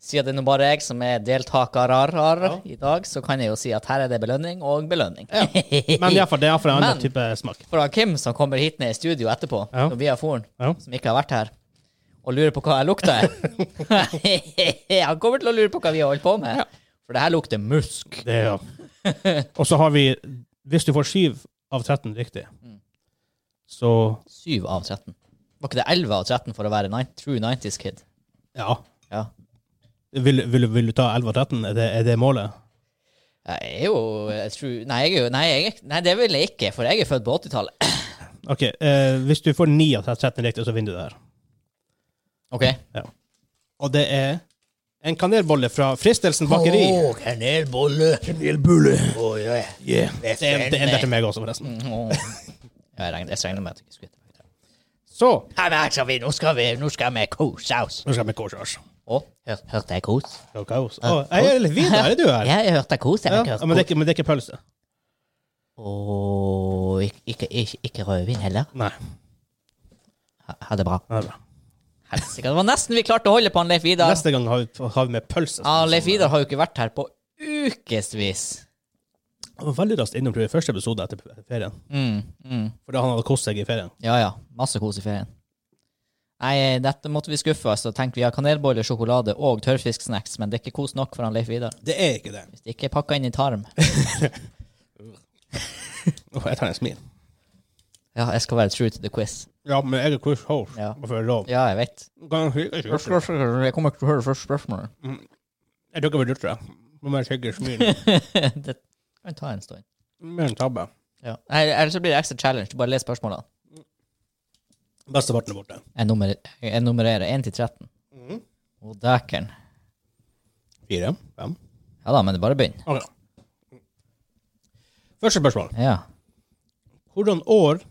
Siden det er nå bare jeg som er deltaker i dag, så kan jeg jo si at her er det belønning og belønning. [LAUGHS]
Men i alle fall, det er iallfall en annen
Men-
type smak.
For han Kim som kommer hit ned i studio etterpå,
Ja.
når vi har foren,
Ja.
som ikke har vært her, og lurer på hva jeg
[LAUGHS]
lukter Han kommer til å lure på hva vi har holdt på med. For det her lukter musk.
Det er, ja. Og så har vi Hvis du får 7 av 13 riktig, så
7 av 13. Var ikke det 11 av 13 for å være nine- true 90s kid?
Ja.
Ja.
Vil, vil, vil du ta 11 av 13? Er det, er det målet?
Jeg er jo jeg tror, nei, jeg er jo, nei, jeg, er- nei, det vil jeg ikke, for jeg er født på 80-tallet.
OK. Eh, hvis du får 9 av 13 riktig, så vinner du det her.
[CLEARS THROAT] OK.
Og det er en kanelbolle fra Fristelsen bakeri.
Åh, kanelbolle. Kanelbolle. Åh, ja.
Yeah. Det er det er en der til meg også, forresten.
Åh. Jeg regner, jeg regner med at jeg ikke skulle hete det.
Så
Ja, men altså, vi, nå skal vi, nå skal vi kose oss.
Nå skal vi korsage.
Å, hør, hørte jeg kos?
Å, jeg er litt videre, er du her?
Ja, jeg hørte kos. Jeg har
Ja,
ikke
men, det er
hørt kos.
ikke, men det er ikke pølse.
Åh, ikke, ikke, ikke, ikke rødvin heller.
Nei.
Ha, ha det bra.
det er bra.
Helsike, det var nesten vi klarte å holde på han Leif Vidar.
Neste gang har vi, har vi med pølse.
Ja, Leif Vidar har jo ikke vært her på ukevis.
Han var veldig raskt innom tror jeg, i første episode etter ferien.
Mm, mm.
Fordi han hadde kost seg i ferien.
Ja ja. Masse kos i ferien. Nei, dette måtte vi skuffe oss og tenke vi har kanelboller, sjokolade og tørrfisksnacks, men det er ikke kos nok for han Leif Vidar.
Det er ikke det.
Hvis det ikke er pakka inn i tarm.
Åh, jeg tar en smil.
Ja, jeg skal være true to the quiz.
Ja, men jeg er Chris Hove.
Ja.
Hvorfor er det lov?
Ja, jeg vet.
Kan jeg ikke gjøre det?
Jeg kommer ikke til å høre første spørsmålet.
Jeg tror ikke vi dytter det. Nå må jeg sjekke smil.
[LAUGHS] det kan ta en stund.
Med en tabbe.
Ja. Nei, Ellers så blir det ekstra challenge. Bare les spørsmålene.
Besteparten er borte.
Jeg, nummer, jeg nummererer 1 til 13. Å, dæken.
Fire. Fem.
Ja da, men det er bare begynn.
Ok. Første spørsmål.
Ja.
Hvordan år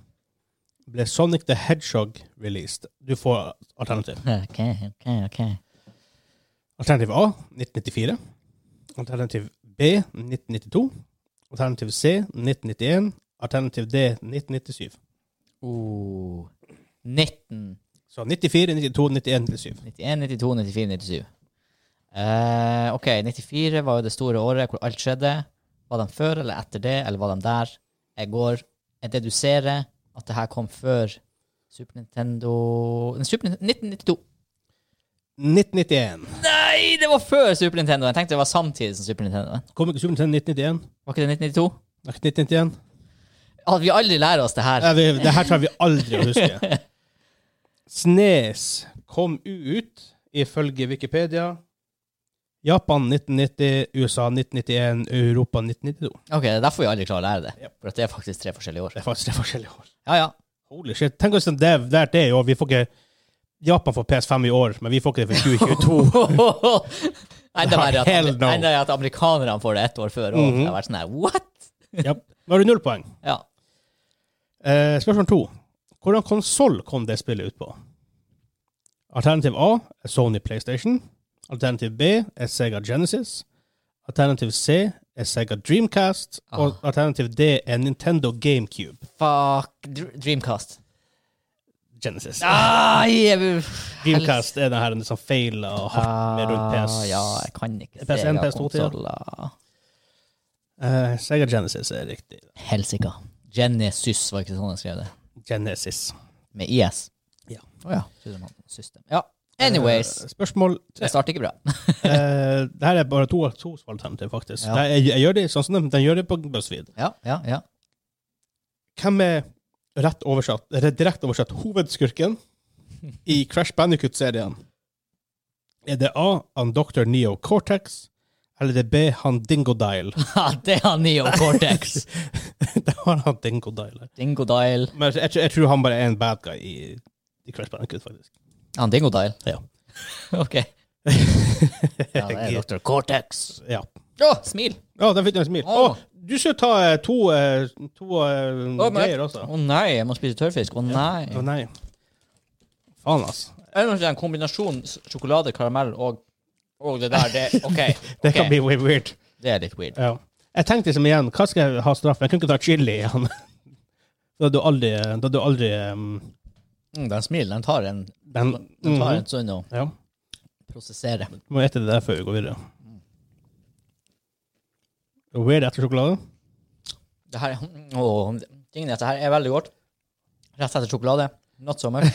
ble Sonic the Hedgehog released? Du får alternativ.
OK, OK, OK.
Alternativ A 1994. Alternativ B 1992. Alternativ C 1991. Alternativ D 1997.
Oh. 19.
Så 94, 92, 91, 97.
91, 92, 94, 97. Eh, OK, 94 var jo det store året hvor alt skjedde. Var de før eller etter det, eller var de der? Jeg går Jeg deduserer at det her kom før Super Nintendo Nei, Super Nintendo 1992.
1991.
Nei, det var før Super Nintendo. Jeg tenkte det var samtidig som Super Nintendo.
Kom ikke Super Nintendo 1991?
Var ikke det 1992?
Nei, 1991.
At vi aldri lærer oss det her.
Nei, vi- Det her tror jeg vi aldri å huske. [LAUGHS] Snes kom ut, ifølge Wikipedia, Japan 1990, USA 1991, Europa 1992.
Ok, Det er derfor vi aldri klarer å lære det.
Yep.
For at det er faktisk tre forskjellige år.
Det er faktisk tre forskjellige år.
Ja, ja.
Holy shit. Tenk oss om det det er det i år. Vi får ikke Japan får PS5 i år, men vi får ikke det [LAUGHS] for
[LAUGHS]
2022.
Nei, det er verre at,
Hell no. Mhm.
nei, det er at amerikanerne får det ett år før. Og Det har vært sånn her, what?
Japp. Nå har du null poeng.
Ja.
Eh, spørsmål to. Hvordan konsoll kom det spillet ut på? Alternativ A er Sony PlayStation. Alternativ B er Sega Genesis. Alternativ C er Sega Dreamcast.
Ah.
Og alternativ D er Nintendo GameCube.
Fuck Dr- Dreamcast.
Genesis.
Ah, Ai, jeg vil
Ah, Dreamcast er den her som feila hardt med rundt PS.
Ah, Ja, jeg kan ikke
PS1,
Sega
PS2 til.
konsoler.
Eh, Sega Genesis er riktig.
Helsika. Genesis, var ikke sånn jeg skrev det?
Genesis.
Med IS.
Ja.
Å ja. Trodde man- System. Ja. Anyways.
Eh, spørsmål
[LAUGHS]
tre.
Det starter ikke bra.
Eh, det her er bare to, to alternativ, faktisk.
Ja.
Det her- jeg, jeg gjør det sånn som de, de gjør det på BuzzFeed.
Ja, ja, ja.
Hvem er rett oversatt, eller direkte oversatt hovedskurken i Crash Bandicoot-serien? Er det A, han Dr. Neo Cortex, eller er det B, han [LAUGHS] Dingodile?
Ha, [LAUGHS] det har Neo Cortex.
[LAUGHS] det var han Dingodile. her.
Dingodile.
Men jeg, tror- jeg tror han bare er en bad guy i, i Crash Bandicoot, faktisk.
Han Dingodile?
Ja.
Ah, [LAUGHS] OK. Ja, det er Dr. Cortex.
Ja.
Å, smil!
Ja, der fikk du en smil.
Åh.
Å, du skal ta eh, to, eh, to eh,
Å, men-
greier også.
Å nei, jeg må spise tørrfisk. Å nei.
Å nei. Faen, altså.
Ellers er det en kombinasjon s- sjokolade, karamell og og det der,
[LAUGHS]
det OK.
Det
ok.
kan bli way weird.
Det er litt weird.
Ja. Jeg tenkte liksom igjen, hva skal jeg ha straff? Jeg kunne ikke ta chili igjen. [LAUGHS] Da hadde du aldri, da hadde du aldri um,
Mm, den smiler. Den tar en,
den,
den tar
Mhm.
en stund å
Ja.
prosessere.
Du må ete det der før vi går videre. Weird etter sjokolade?
Det her, åh, tingene, dette her er veldig godt. Rett etter sjokolade. Not so
[LAUGHS]
much.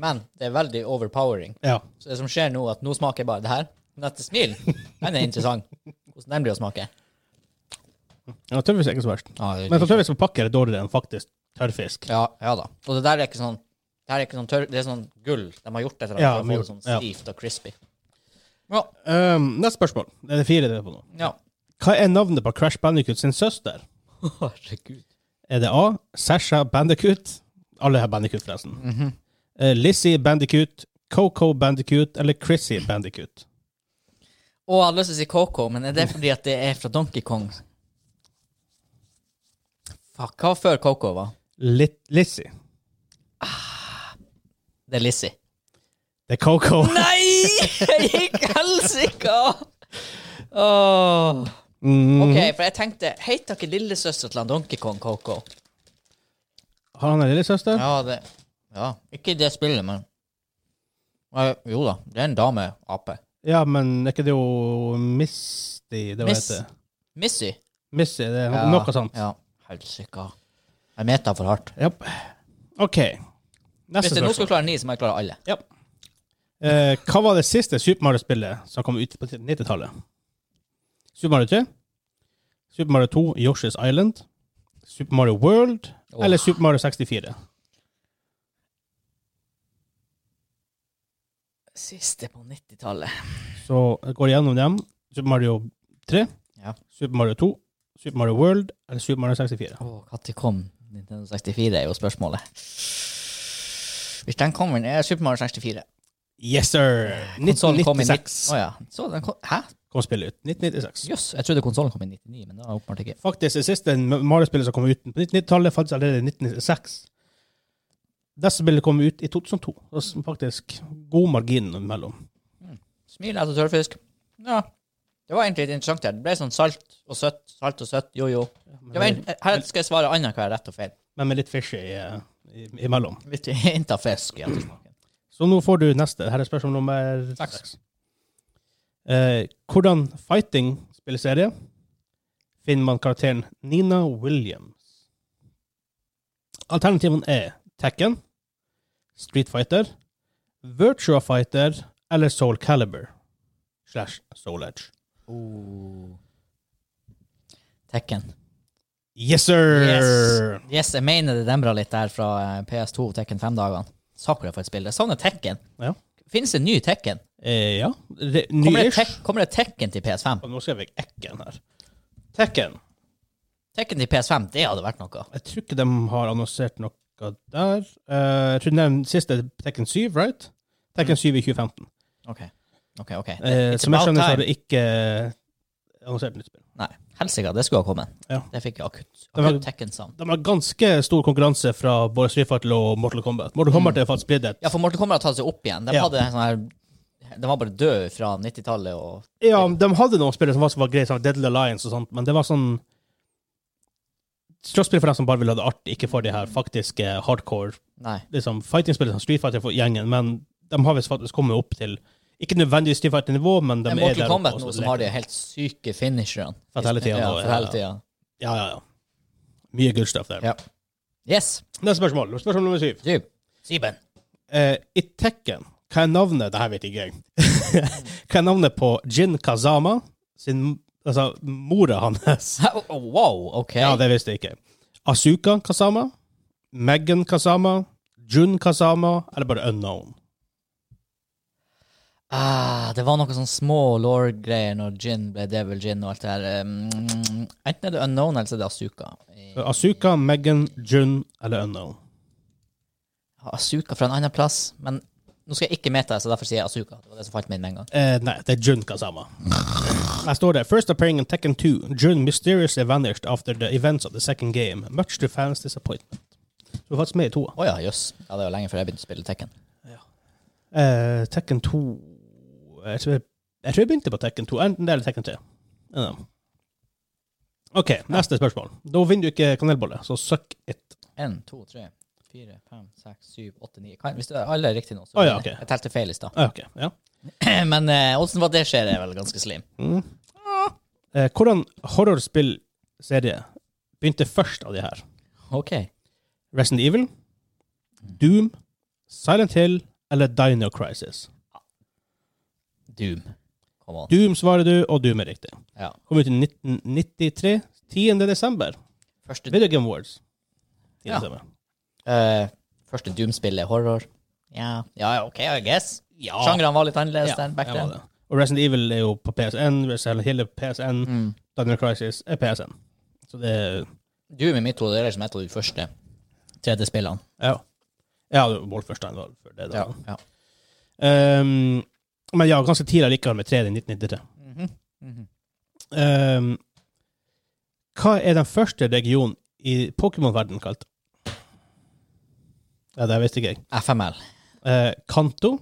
Men det er veldig overpowering.
Ja.
Så det som skjer nå, at nå smaker jeg bare det her. Men etter smil, den er interessant. Hvordan den blir å smake.
ja tørrfisk er ikke så verst.
Ja, det-
Men så tørrfisk på pakke er dårligere enn faktisk tørrfisk.
ja, ja da. Og det der er ikke sånn det her er ikke sånn tørr, det er sånn gull. De har gjort det for,
Ja,
for å få det
gjort-
sånn
ja.
stivt og crispy. Ja.
Um, neste spørsmål. Det er det fire det er på nå.
ja.
Hva er navnet på Crash Bandicoot sin søster?
Herregud.
Er det A. Sasha Bandicoot? Alle har Bandicoot, forresten.
Mhm.
Eh, Lizzie Bandicoot, Coco Bandicoot eller Chrissy Bandicoot?
Og jeg har lyst til å si Coco, men er det fordi at det er fra Donkey Kong? Fuck, hva var før Coco var?
Litt Lizzie.
Det er Lizzie.
Det er Coco.
Nei! [LAUGHS] Jeg gikk helsika! Åh.
Mhm.
Ok, for jeg tenkte Heter ikke lillesøster til han Donkey Kong Coco?
[LAUGHS] Har han en lillesøster?
Ja, det Ja, ikke i det spillet, men Nei, Jo da, det er en dameape.
Ja, men er ikke det jo Misty det var
Miss-
heter?
Missy.
Missy, det er
Ja,
noe sånt.
Ja. Helsika. Jeg meta for hardt.
Japp. OK. Neste
Hvis jeg nå
spørsmål.
skal klare ni, så må jeg klare alle.
Japp. Eh, hva var det siste Super Mario-spillet som kom ut på 90-tallet? Super Mario 3, Super Mario 2, Yoshi's Island, Super Mario World
Åh.
eller Super Mario 64?
Siste på 90-tallet.
Så jeg går gjennom dem. Super Mario 3,
Ja.
Super Mario 2, Super Mario World eller Super Mario 64?
Åh, Når kom Nintendo 64, er jo spørsmålet. Hvis den kommer, er Super Mario 64.
Yes, sir!
Konsollen kom i
1996
nitt- Å ja. Så den kom, hæ?
kom spillet ut. 1996.
Jøss, jeg trodde konsollen kom i 99, men det var åpenbart ikke.
Faktisk, det siste Mario-spillet som kom ut på 90-tallet, fantes allerede i 1996. Dette spillet kom ut i 2002. Det er faktisk god margin imellom.
Smil etter tørrfisk. Ja. Det var egentlig litt interessant her. Det ble sånn salt og søtt, salt og søtt, jo jo. Det var en, eh, her skal jeg svare annenhver rett og feil.
Men med litt fishy eh, i- imellom.
Litt hint av fisk i ettersmaken.
Så nå får du neste. Her er spørsmål nummer
Seks.
seks. Eh, hvordan fighting-spilleserie finner man karakteren Nina Williams? Alternativene er Tekken, Street Fighter, Virtua Fighter eller Soul Caliber slash Soul Edge.
Oh. Tekken.
Yes, sir!
Yes. yes, jeg mener det demra litt der fra eh, PS2 Tekken 5-dagene. Sakura for et spill. Jeg savner Tekken.
Ja.
Finnes det ny Tekken?
Eh, ja. Re-
Kommer det,
Nyish.
tek kommer det Tekken til PS5?
Nå skrev jeg Ekken her. Tekken.
Tekken til PS5, det hadde vært noe.
Jeg tror ikke de har annonsert noe der. Eh, jeg tror den siste er Tekken 7, right?
Mm.
Tekken 7 i 2015.
Ok, ok. ok.
Eh,
It's
som jeg
about
skjønner, så har
time.
de ikke eh, annonsert nytt spill.
Nei, helsike, det skulle ha kommet.
Ja.
Det fikk jeg akutt.
var-
Akutt Tekken-savn.
De har ganske stor konkurranse fra både Street Fighter og Mortal Kombat. Mortal Kombat er faktisk blitt et
Mm. Ja, for Morten kommer til å ta seg opp igjen. De,
Ja.
hadde en sånn her, de var bare døde fra 90-tallet og
Ja, de hadde noen spillere som var, som var greie, som Deadly Alliance og sånt, men det var sånn Slåsspill for dem som bare vil ha det artig, ikke for de her faktiske hardcore
Nei.
liksom, fighting-spillere som Street Fighter for gjengen, men de har visst faktisk kommet opp til Ikke nødvendigvis Street Fighter-nivå, men de
det er
er
Morten
der
Kombat
oppe
nå
og så
som
leker.
har de helt syke finisherne.
For hele tiden,
Ja,
da,
for
ja,
hele
ja.
tiden.
Ja, ja, ja. Mye good stuff der.
Ja. Yes.
Neste spørsmål. Spørsmål nummer syv.
Du, Siben.
Eh, I Tekken, hva er navnet Det her vet ikke jeg. [LAUGHS] hva er navnet på Jin Kazama sin Altså mora hans?
Oh, [LAUGHS] oh, wow, OK.
Ja, det visste jeg ikke. Asuka Kazama? Megan Kazama? Jun Kazama? Eller bare Unknown?
Ah, det var noen sånne små lore-greier når Gin ble Devil Gin og alt det her. Um, enten er det Unknown eller så er det Asuka.
Så
Eh.
Asuka, Megan, Jun eller Unknown?
Asuka fra en annen plass, men nå skal jeg ikke meta, så derfor sier jeg Asuka. Det var det som falt meg inn med en gang.
Eh, nei, det er Jun Kazama. Her står det First appearing in Tekken 2, Jun mysteriously vanished after the events of the second game. Much to fans disappointment. Så hun er faktisk med i toa.
Å ja, jøss. Ja, det var lenge før jeg begynte å spille Tekken.
Eh, Tekken 2 jeg tror jeg, jeg tror jeg begynte på Tekken 2, enten det eller Tekken 3. En av dem. OK, neste spørsmål. Da vinner du ikke kanelbolle, så suck it.
En, to, tre, fire, fem, seks, syv, åtte, ni. Kan, hvis du alle er riktig nå, så
Å ja,
vinner jeg.
ok.
Jeg telte feil i stad.
Ah, ok, ja.
[CLEARS THROAT] Men eh, åssen var det skjer, er vel ganske slim.
Eh, hvordan horrorspillserie begynte først av de her?
OK.
Resident Evil, Doom, Silent Hill eller Dino Crisis?
Doom. Come on.
Doom svarer du, og Doom er riktig.
Ja.
Kom ut i 1993, 10. desember.
Første,
Video Game Awards. 10.
Ja.
desember.
eh, første Doom-spillet er horror. Ja. ja, ja, OK, I guess.
Ja.
Sjangrene var litt annerledes
Ah. Ja,
der back
det var
then.
det. Og Resident Evil er jo på PSN, Resident Hill er på PSN,
Mm.
Daniel Crisis er PSN. Så det er
Doom i mitt hode er liksom et av de første 3D-spillene.
Ja. Ja, Wolfenstein var før det, da.
Ja. ja.
Ehm, men ja, ganske tidlig likevel med 3D i 1993.
Mhm,
Ehm, hva er den første regionen i Pokémon-verdenen kalt? Ja, det visste ikke jeg.
FML.
Eh, Kanto,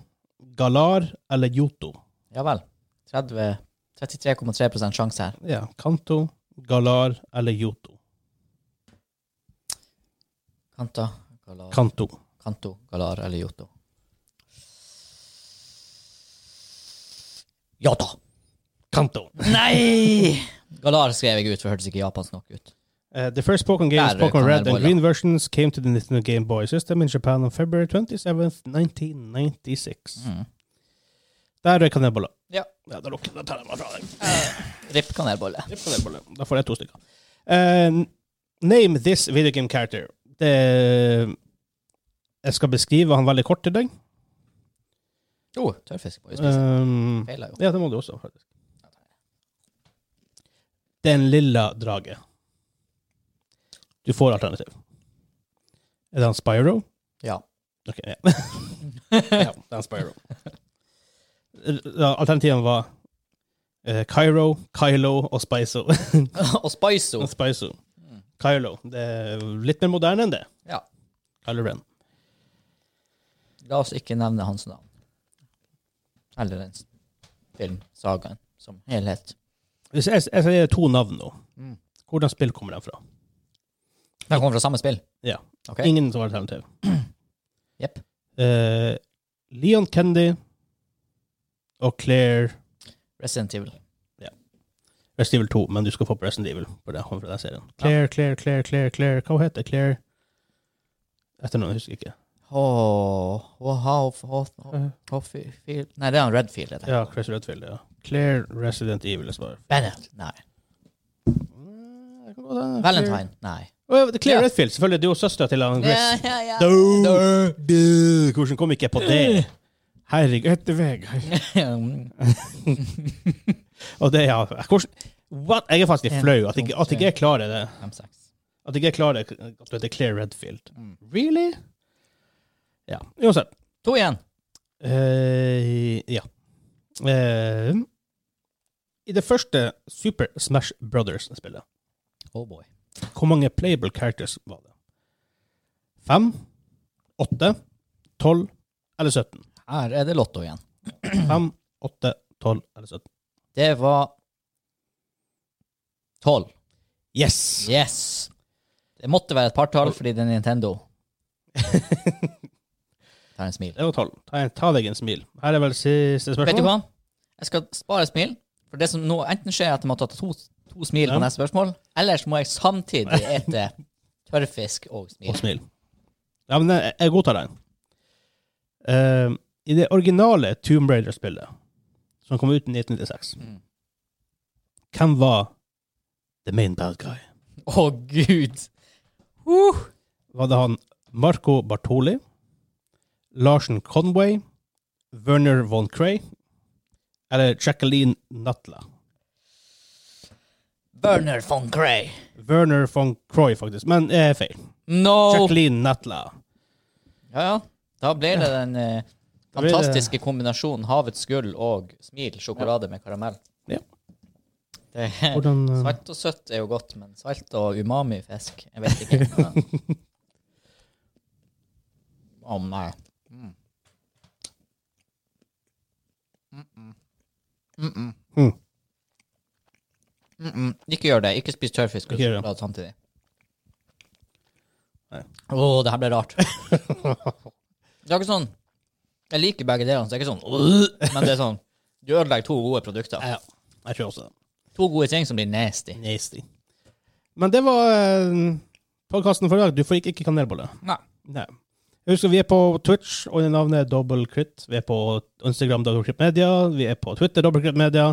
Galar eller Yoto?
Ja vel. 30 33,3 sjanse her.
Ja, Kanto, Galar eller Yoto.
Kanta, Galar,
Kanto.
Kanto, Galar eller Yoto. Ja da!
Kanto.
Nei! Galar skrev jeg ut, for det hørtes ikke japansk nok ut.
Uh, the first Pokemon games,
Där
Pokemon
kan
Red
det
and
bolla.
Green versions, came to the Nintendo Game Boy system in Japan on February 27th, 1996.
Mm.
Der røyk kanelboller.
Ja.
Ja, da lukker- da tar jeg meg fra deg.
Ripp kanelbolle.
Røyk kanelboller. Da får jeg to stykker. Eh, name this video game character. Det Jeg skal beskrive han veldig kort til deg.
Oh, tørrfisk må jo spise.
Um,
Feiler jo.
ja, det må du også, faktisk. Det er en lilla drage. Du får alternativ. Er det han Spyro?
Ja. [LAUGHS]
Ok, [LAUGHS] ja. ja det er han Spyro. Da, Alternativene var eh, Cairo, Kylo og Spiso.
Og Mm. Spizo.
[LAUGHS] Og Spiso. Kylo. Det er litt mer moderne enn det.
Ja.
Kylo Ren.
La oss ikke nevne hans navn. Eller den s- filmsagaen som helhet.
Hvis jeg, jeg sier to navn nå,
Mm.
hvordan spill kommer den fra?
Den kommer fra samme spill.
Ja.
Ok.
Ingen som alternativ.
[CLEARS THROAT] Jepp.
Eh, Leon Kennedy og Claire
Resident Evil.
Resident Evil 2, men du skal få på Resident Evil. For det kommer fra den serien. Claire, Claire, Claire, Claire, Claire. Hva hun heter Claire? Etter noen, jeg husker ikke.
Åh, åh, ha- ha- ha- ha- fi- fi- Nei, det er han Redfield. heter.
Ja, Chris Redfield, ja. Claire Resident Evil. Jeg svarer. Mm,
Bennett. Nei. Valentine. Nei.
Oh, det er Claire
Ja.
Redfield, selvfølgelig. Det er jo søstera til han Chris.
ja, ja.
Du,
[LAUGHS]
du, Hvordan kom ikke jeg på det? Herregud, etter veg. Og det, ja. Hvordan, what? Jeg er faktisk litt flau at jeg at jeg ikke klarer det.
M6.
At jeg ikke klarer at du heter Claire Redfield.
Mm.
Really? Ja. Uansett.
To igjen.
Eh, ja. Eh, I det første Super Smash Brothers-spillet,
Oh boy.
hvor mange playable characters var det? Fem? Åtte? Tolv? Eller 17?
Her er det Lotto igjen.
Fem, åtte, tolv eller 17.
Det var tolv.
Yes!
Yes. Det måtte være et partall fordi det er Nintendo. Tar en smil.
Det var tolv. Ta, en- ta deg en smil. Her er vel siste spørsmål.
Vet du hva? Jeg skal spare smil. For det som nå enten skjer, er at jeg må ta to, to smil
Ja.
på neste spørsmål, eller så må jeg samtidig ete tørrfisk og
Og
smil.
smil. Ja, men jeg, jeg godtar den. Eh, I det originale Tomb Raider-spillet, som kom ut i 1996,
Mm.
hvem var the main bad guy?
Å, gud! Uh.
Var det han Marco Bartoli, Larsen Conway, Werner von Cray eller Jacqueline Natla?
Werner von Grey.
Werner von Croy, faktisk, men eh, feil.
No!
Jacqueline Natla.
Ja, ja. Da ble det den eh,
Da blir det-
fantastiske kombinasjonen havets gull og smil, sjokolade med karamell.
Ja.
Det,
Hvordan, eh,
salt og søtt er jo godt, men salt og umami-fisk Jeg vet ikke.
[LAUGHS]
Å nei. Mm. Mm-mm. Mm-mm.
Mm.
Mm-mm. Ikke gjør det. Ikke spis tørrfisk og
Ikke gjør det.
sjokolade samtidig.
Nei.
Å, det her ble rart. Det er ikke sånn Jeg liker begge delene, så det er ikke sånn «Åh», Men det er sånn Du ødelegger to gode produkter.
Ja, jeg tror også det.
To gode ting som blir nasty.
Nasty. Men det var eh, podkasten for i dag. Du får ikke, ikke kanelbolle.
Nei.
Nei. Husk, vi er på Twitch under navnet Double Crit. Vi er på Instagram Double Crit Media. Vi er på Twitter Double Crit Media.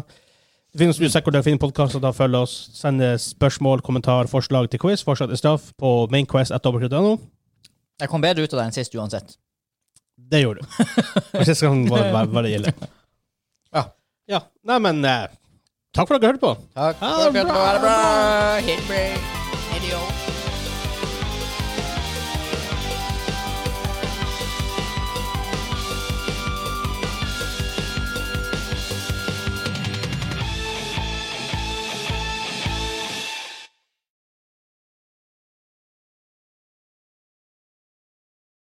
Det finnes uansett hvor dere finner podkaster, da følg oss. Send eh, spørsmål, kommentar, forslag til quiz, forslag til straff på mainquest.dobbeltcrit.no.
Jeg kom bedre ut av det enn sist uansett.
Det [LAUGHS] gjorde du. Og sist gang var var- var det gilde.
Ja.
ja. Nei, men eh, takk for at dere hørte på.
Takk
Ha det
for at du
bra.
var bra. Ha det bra. Hit break. Idiot.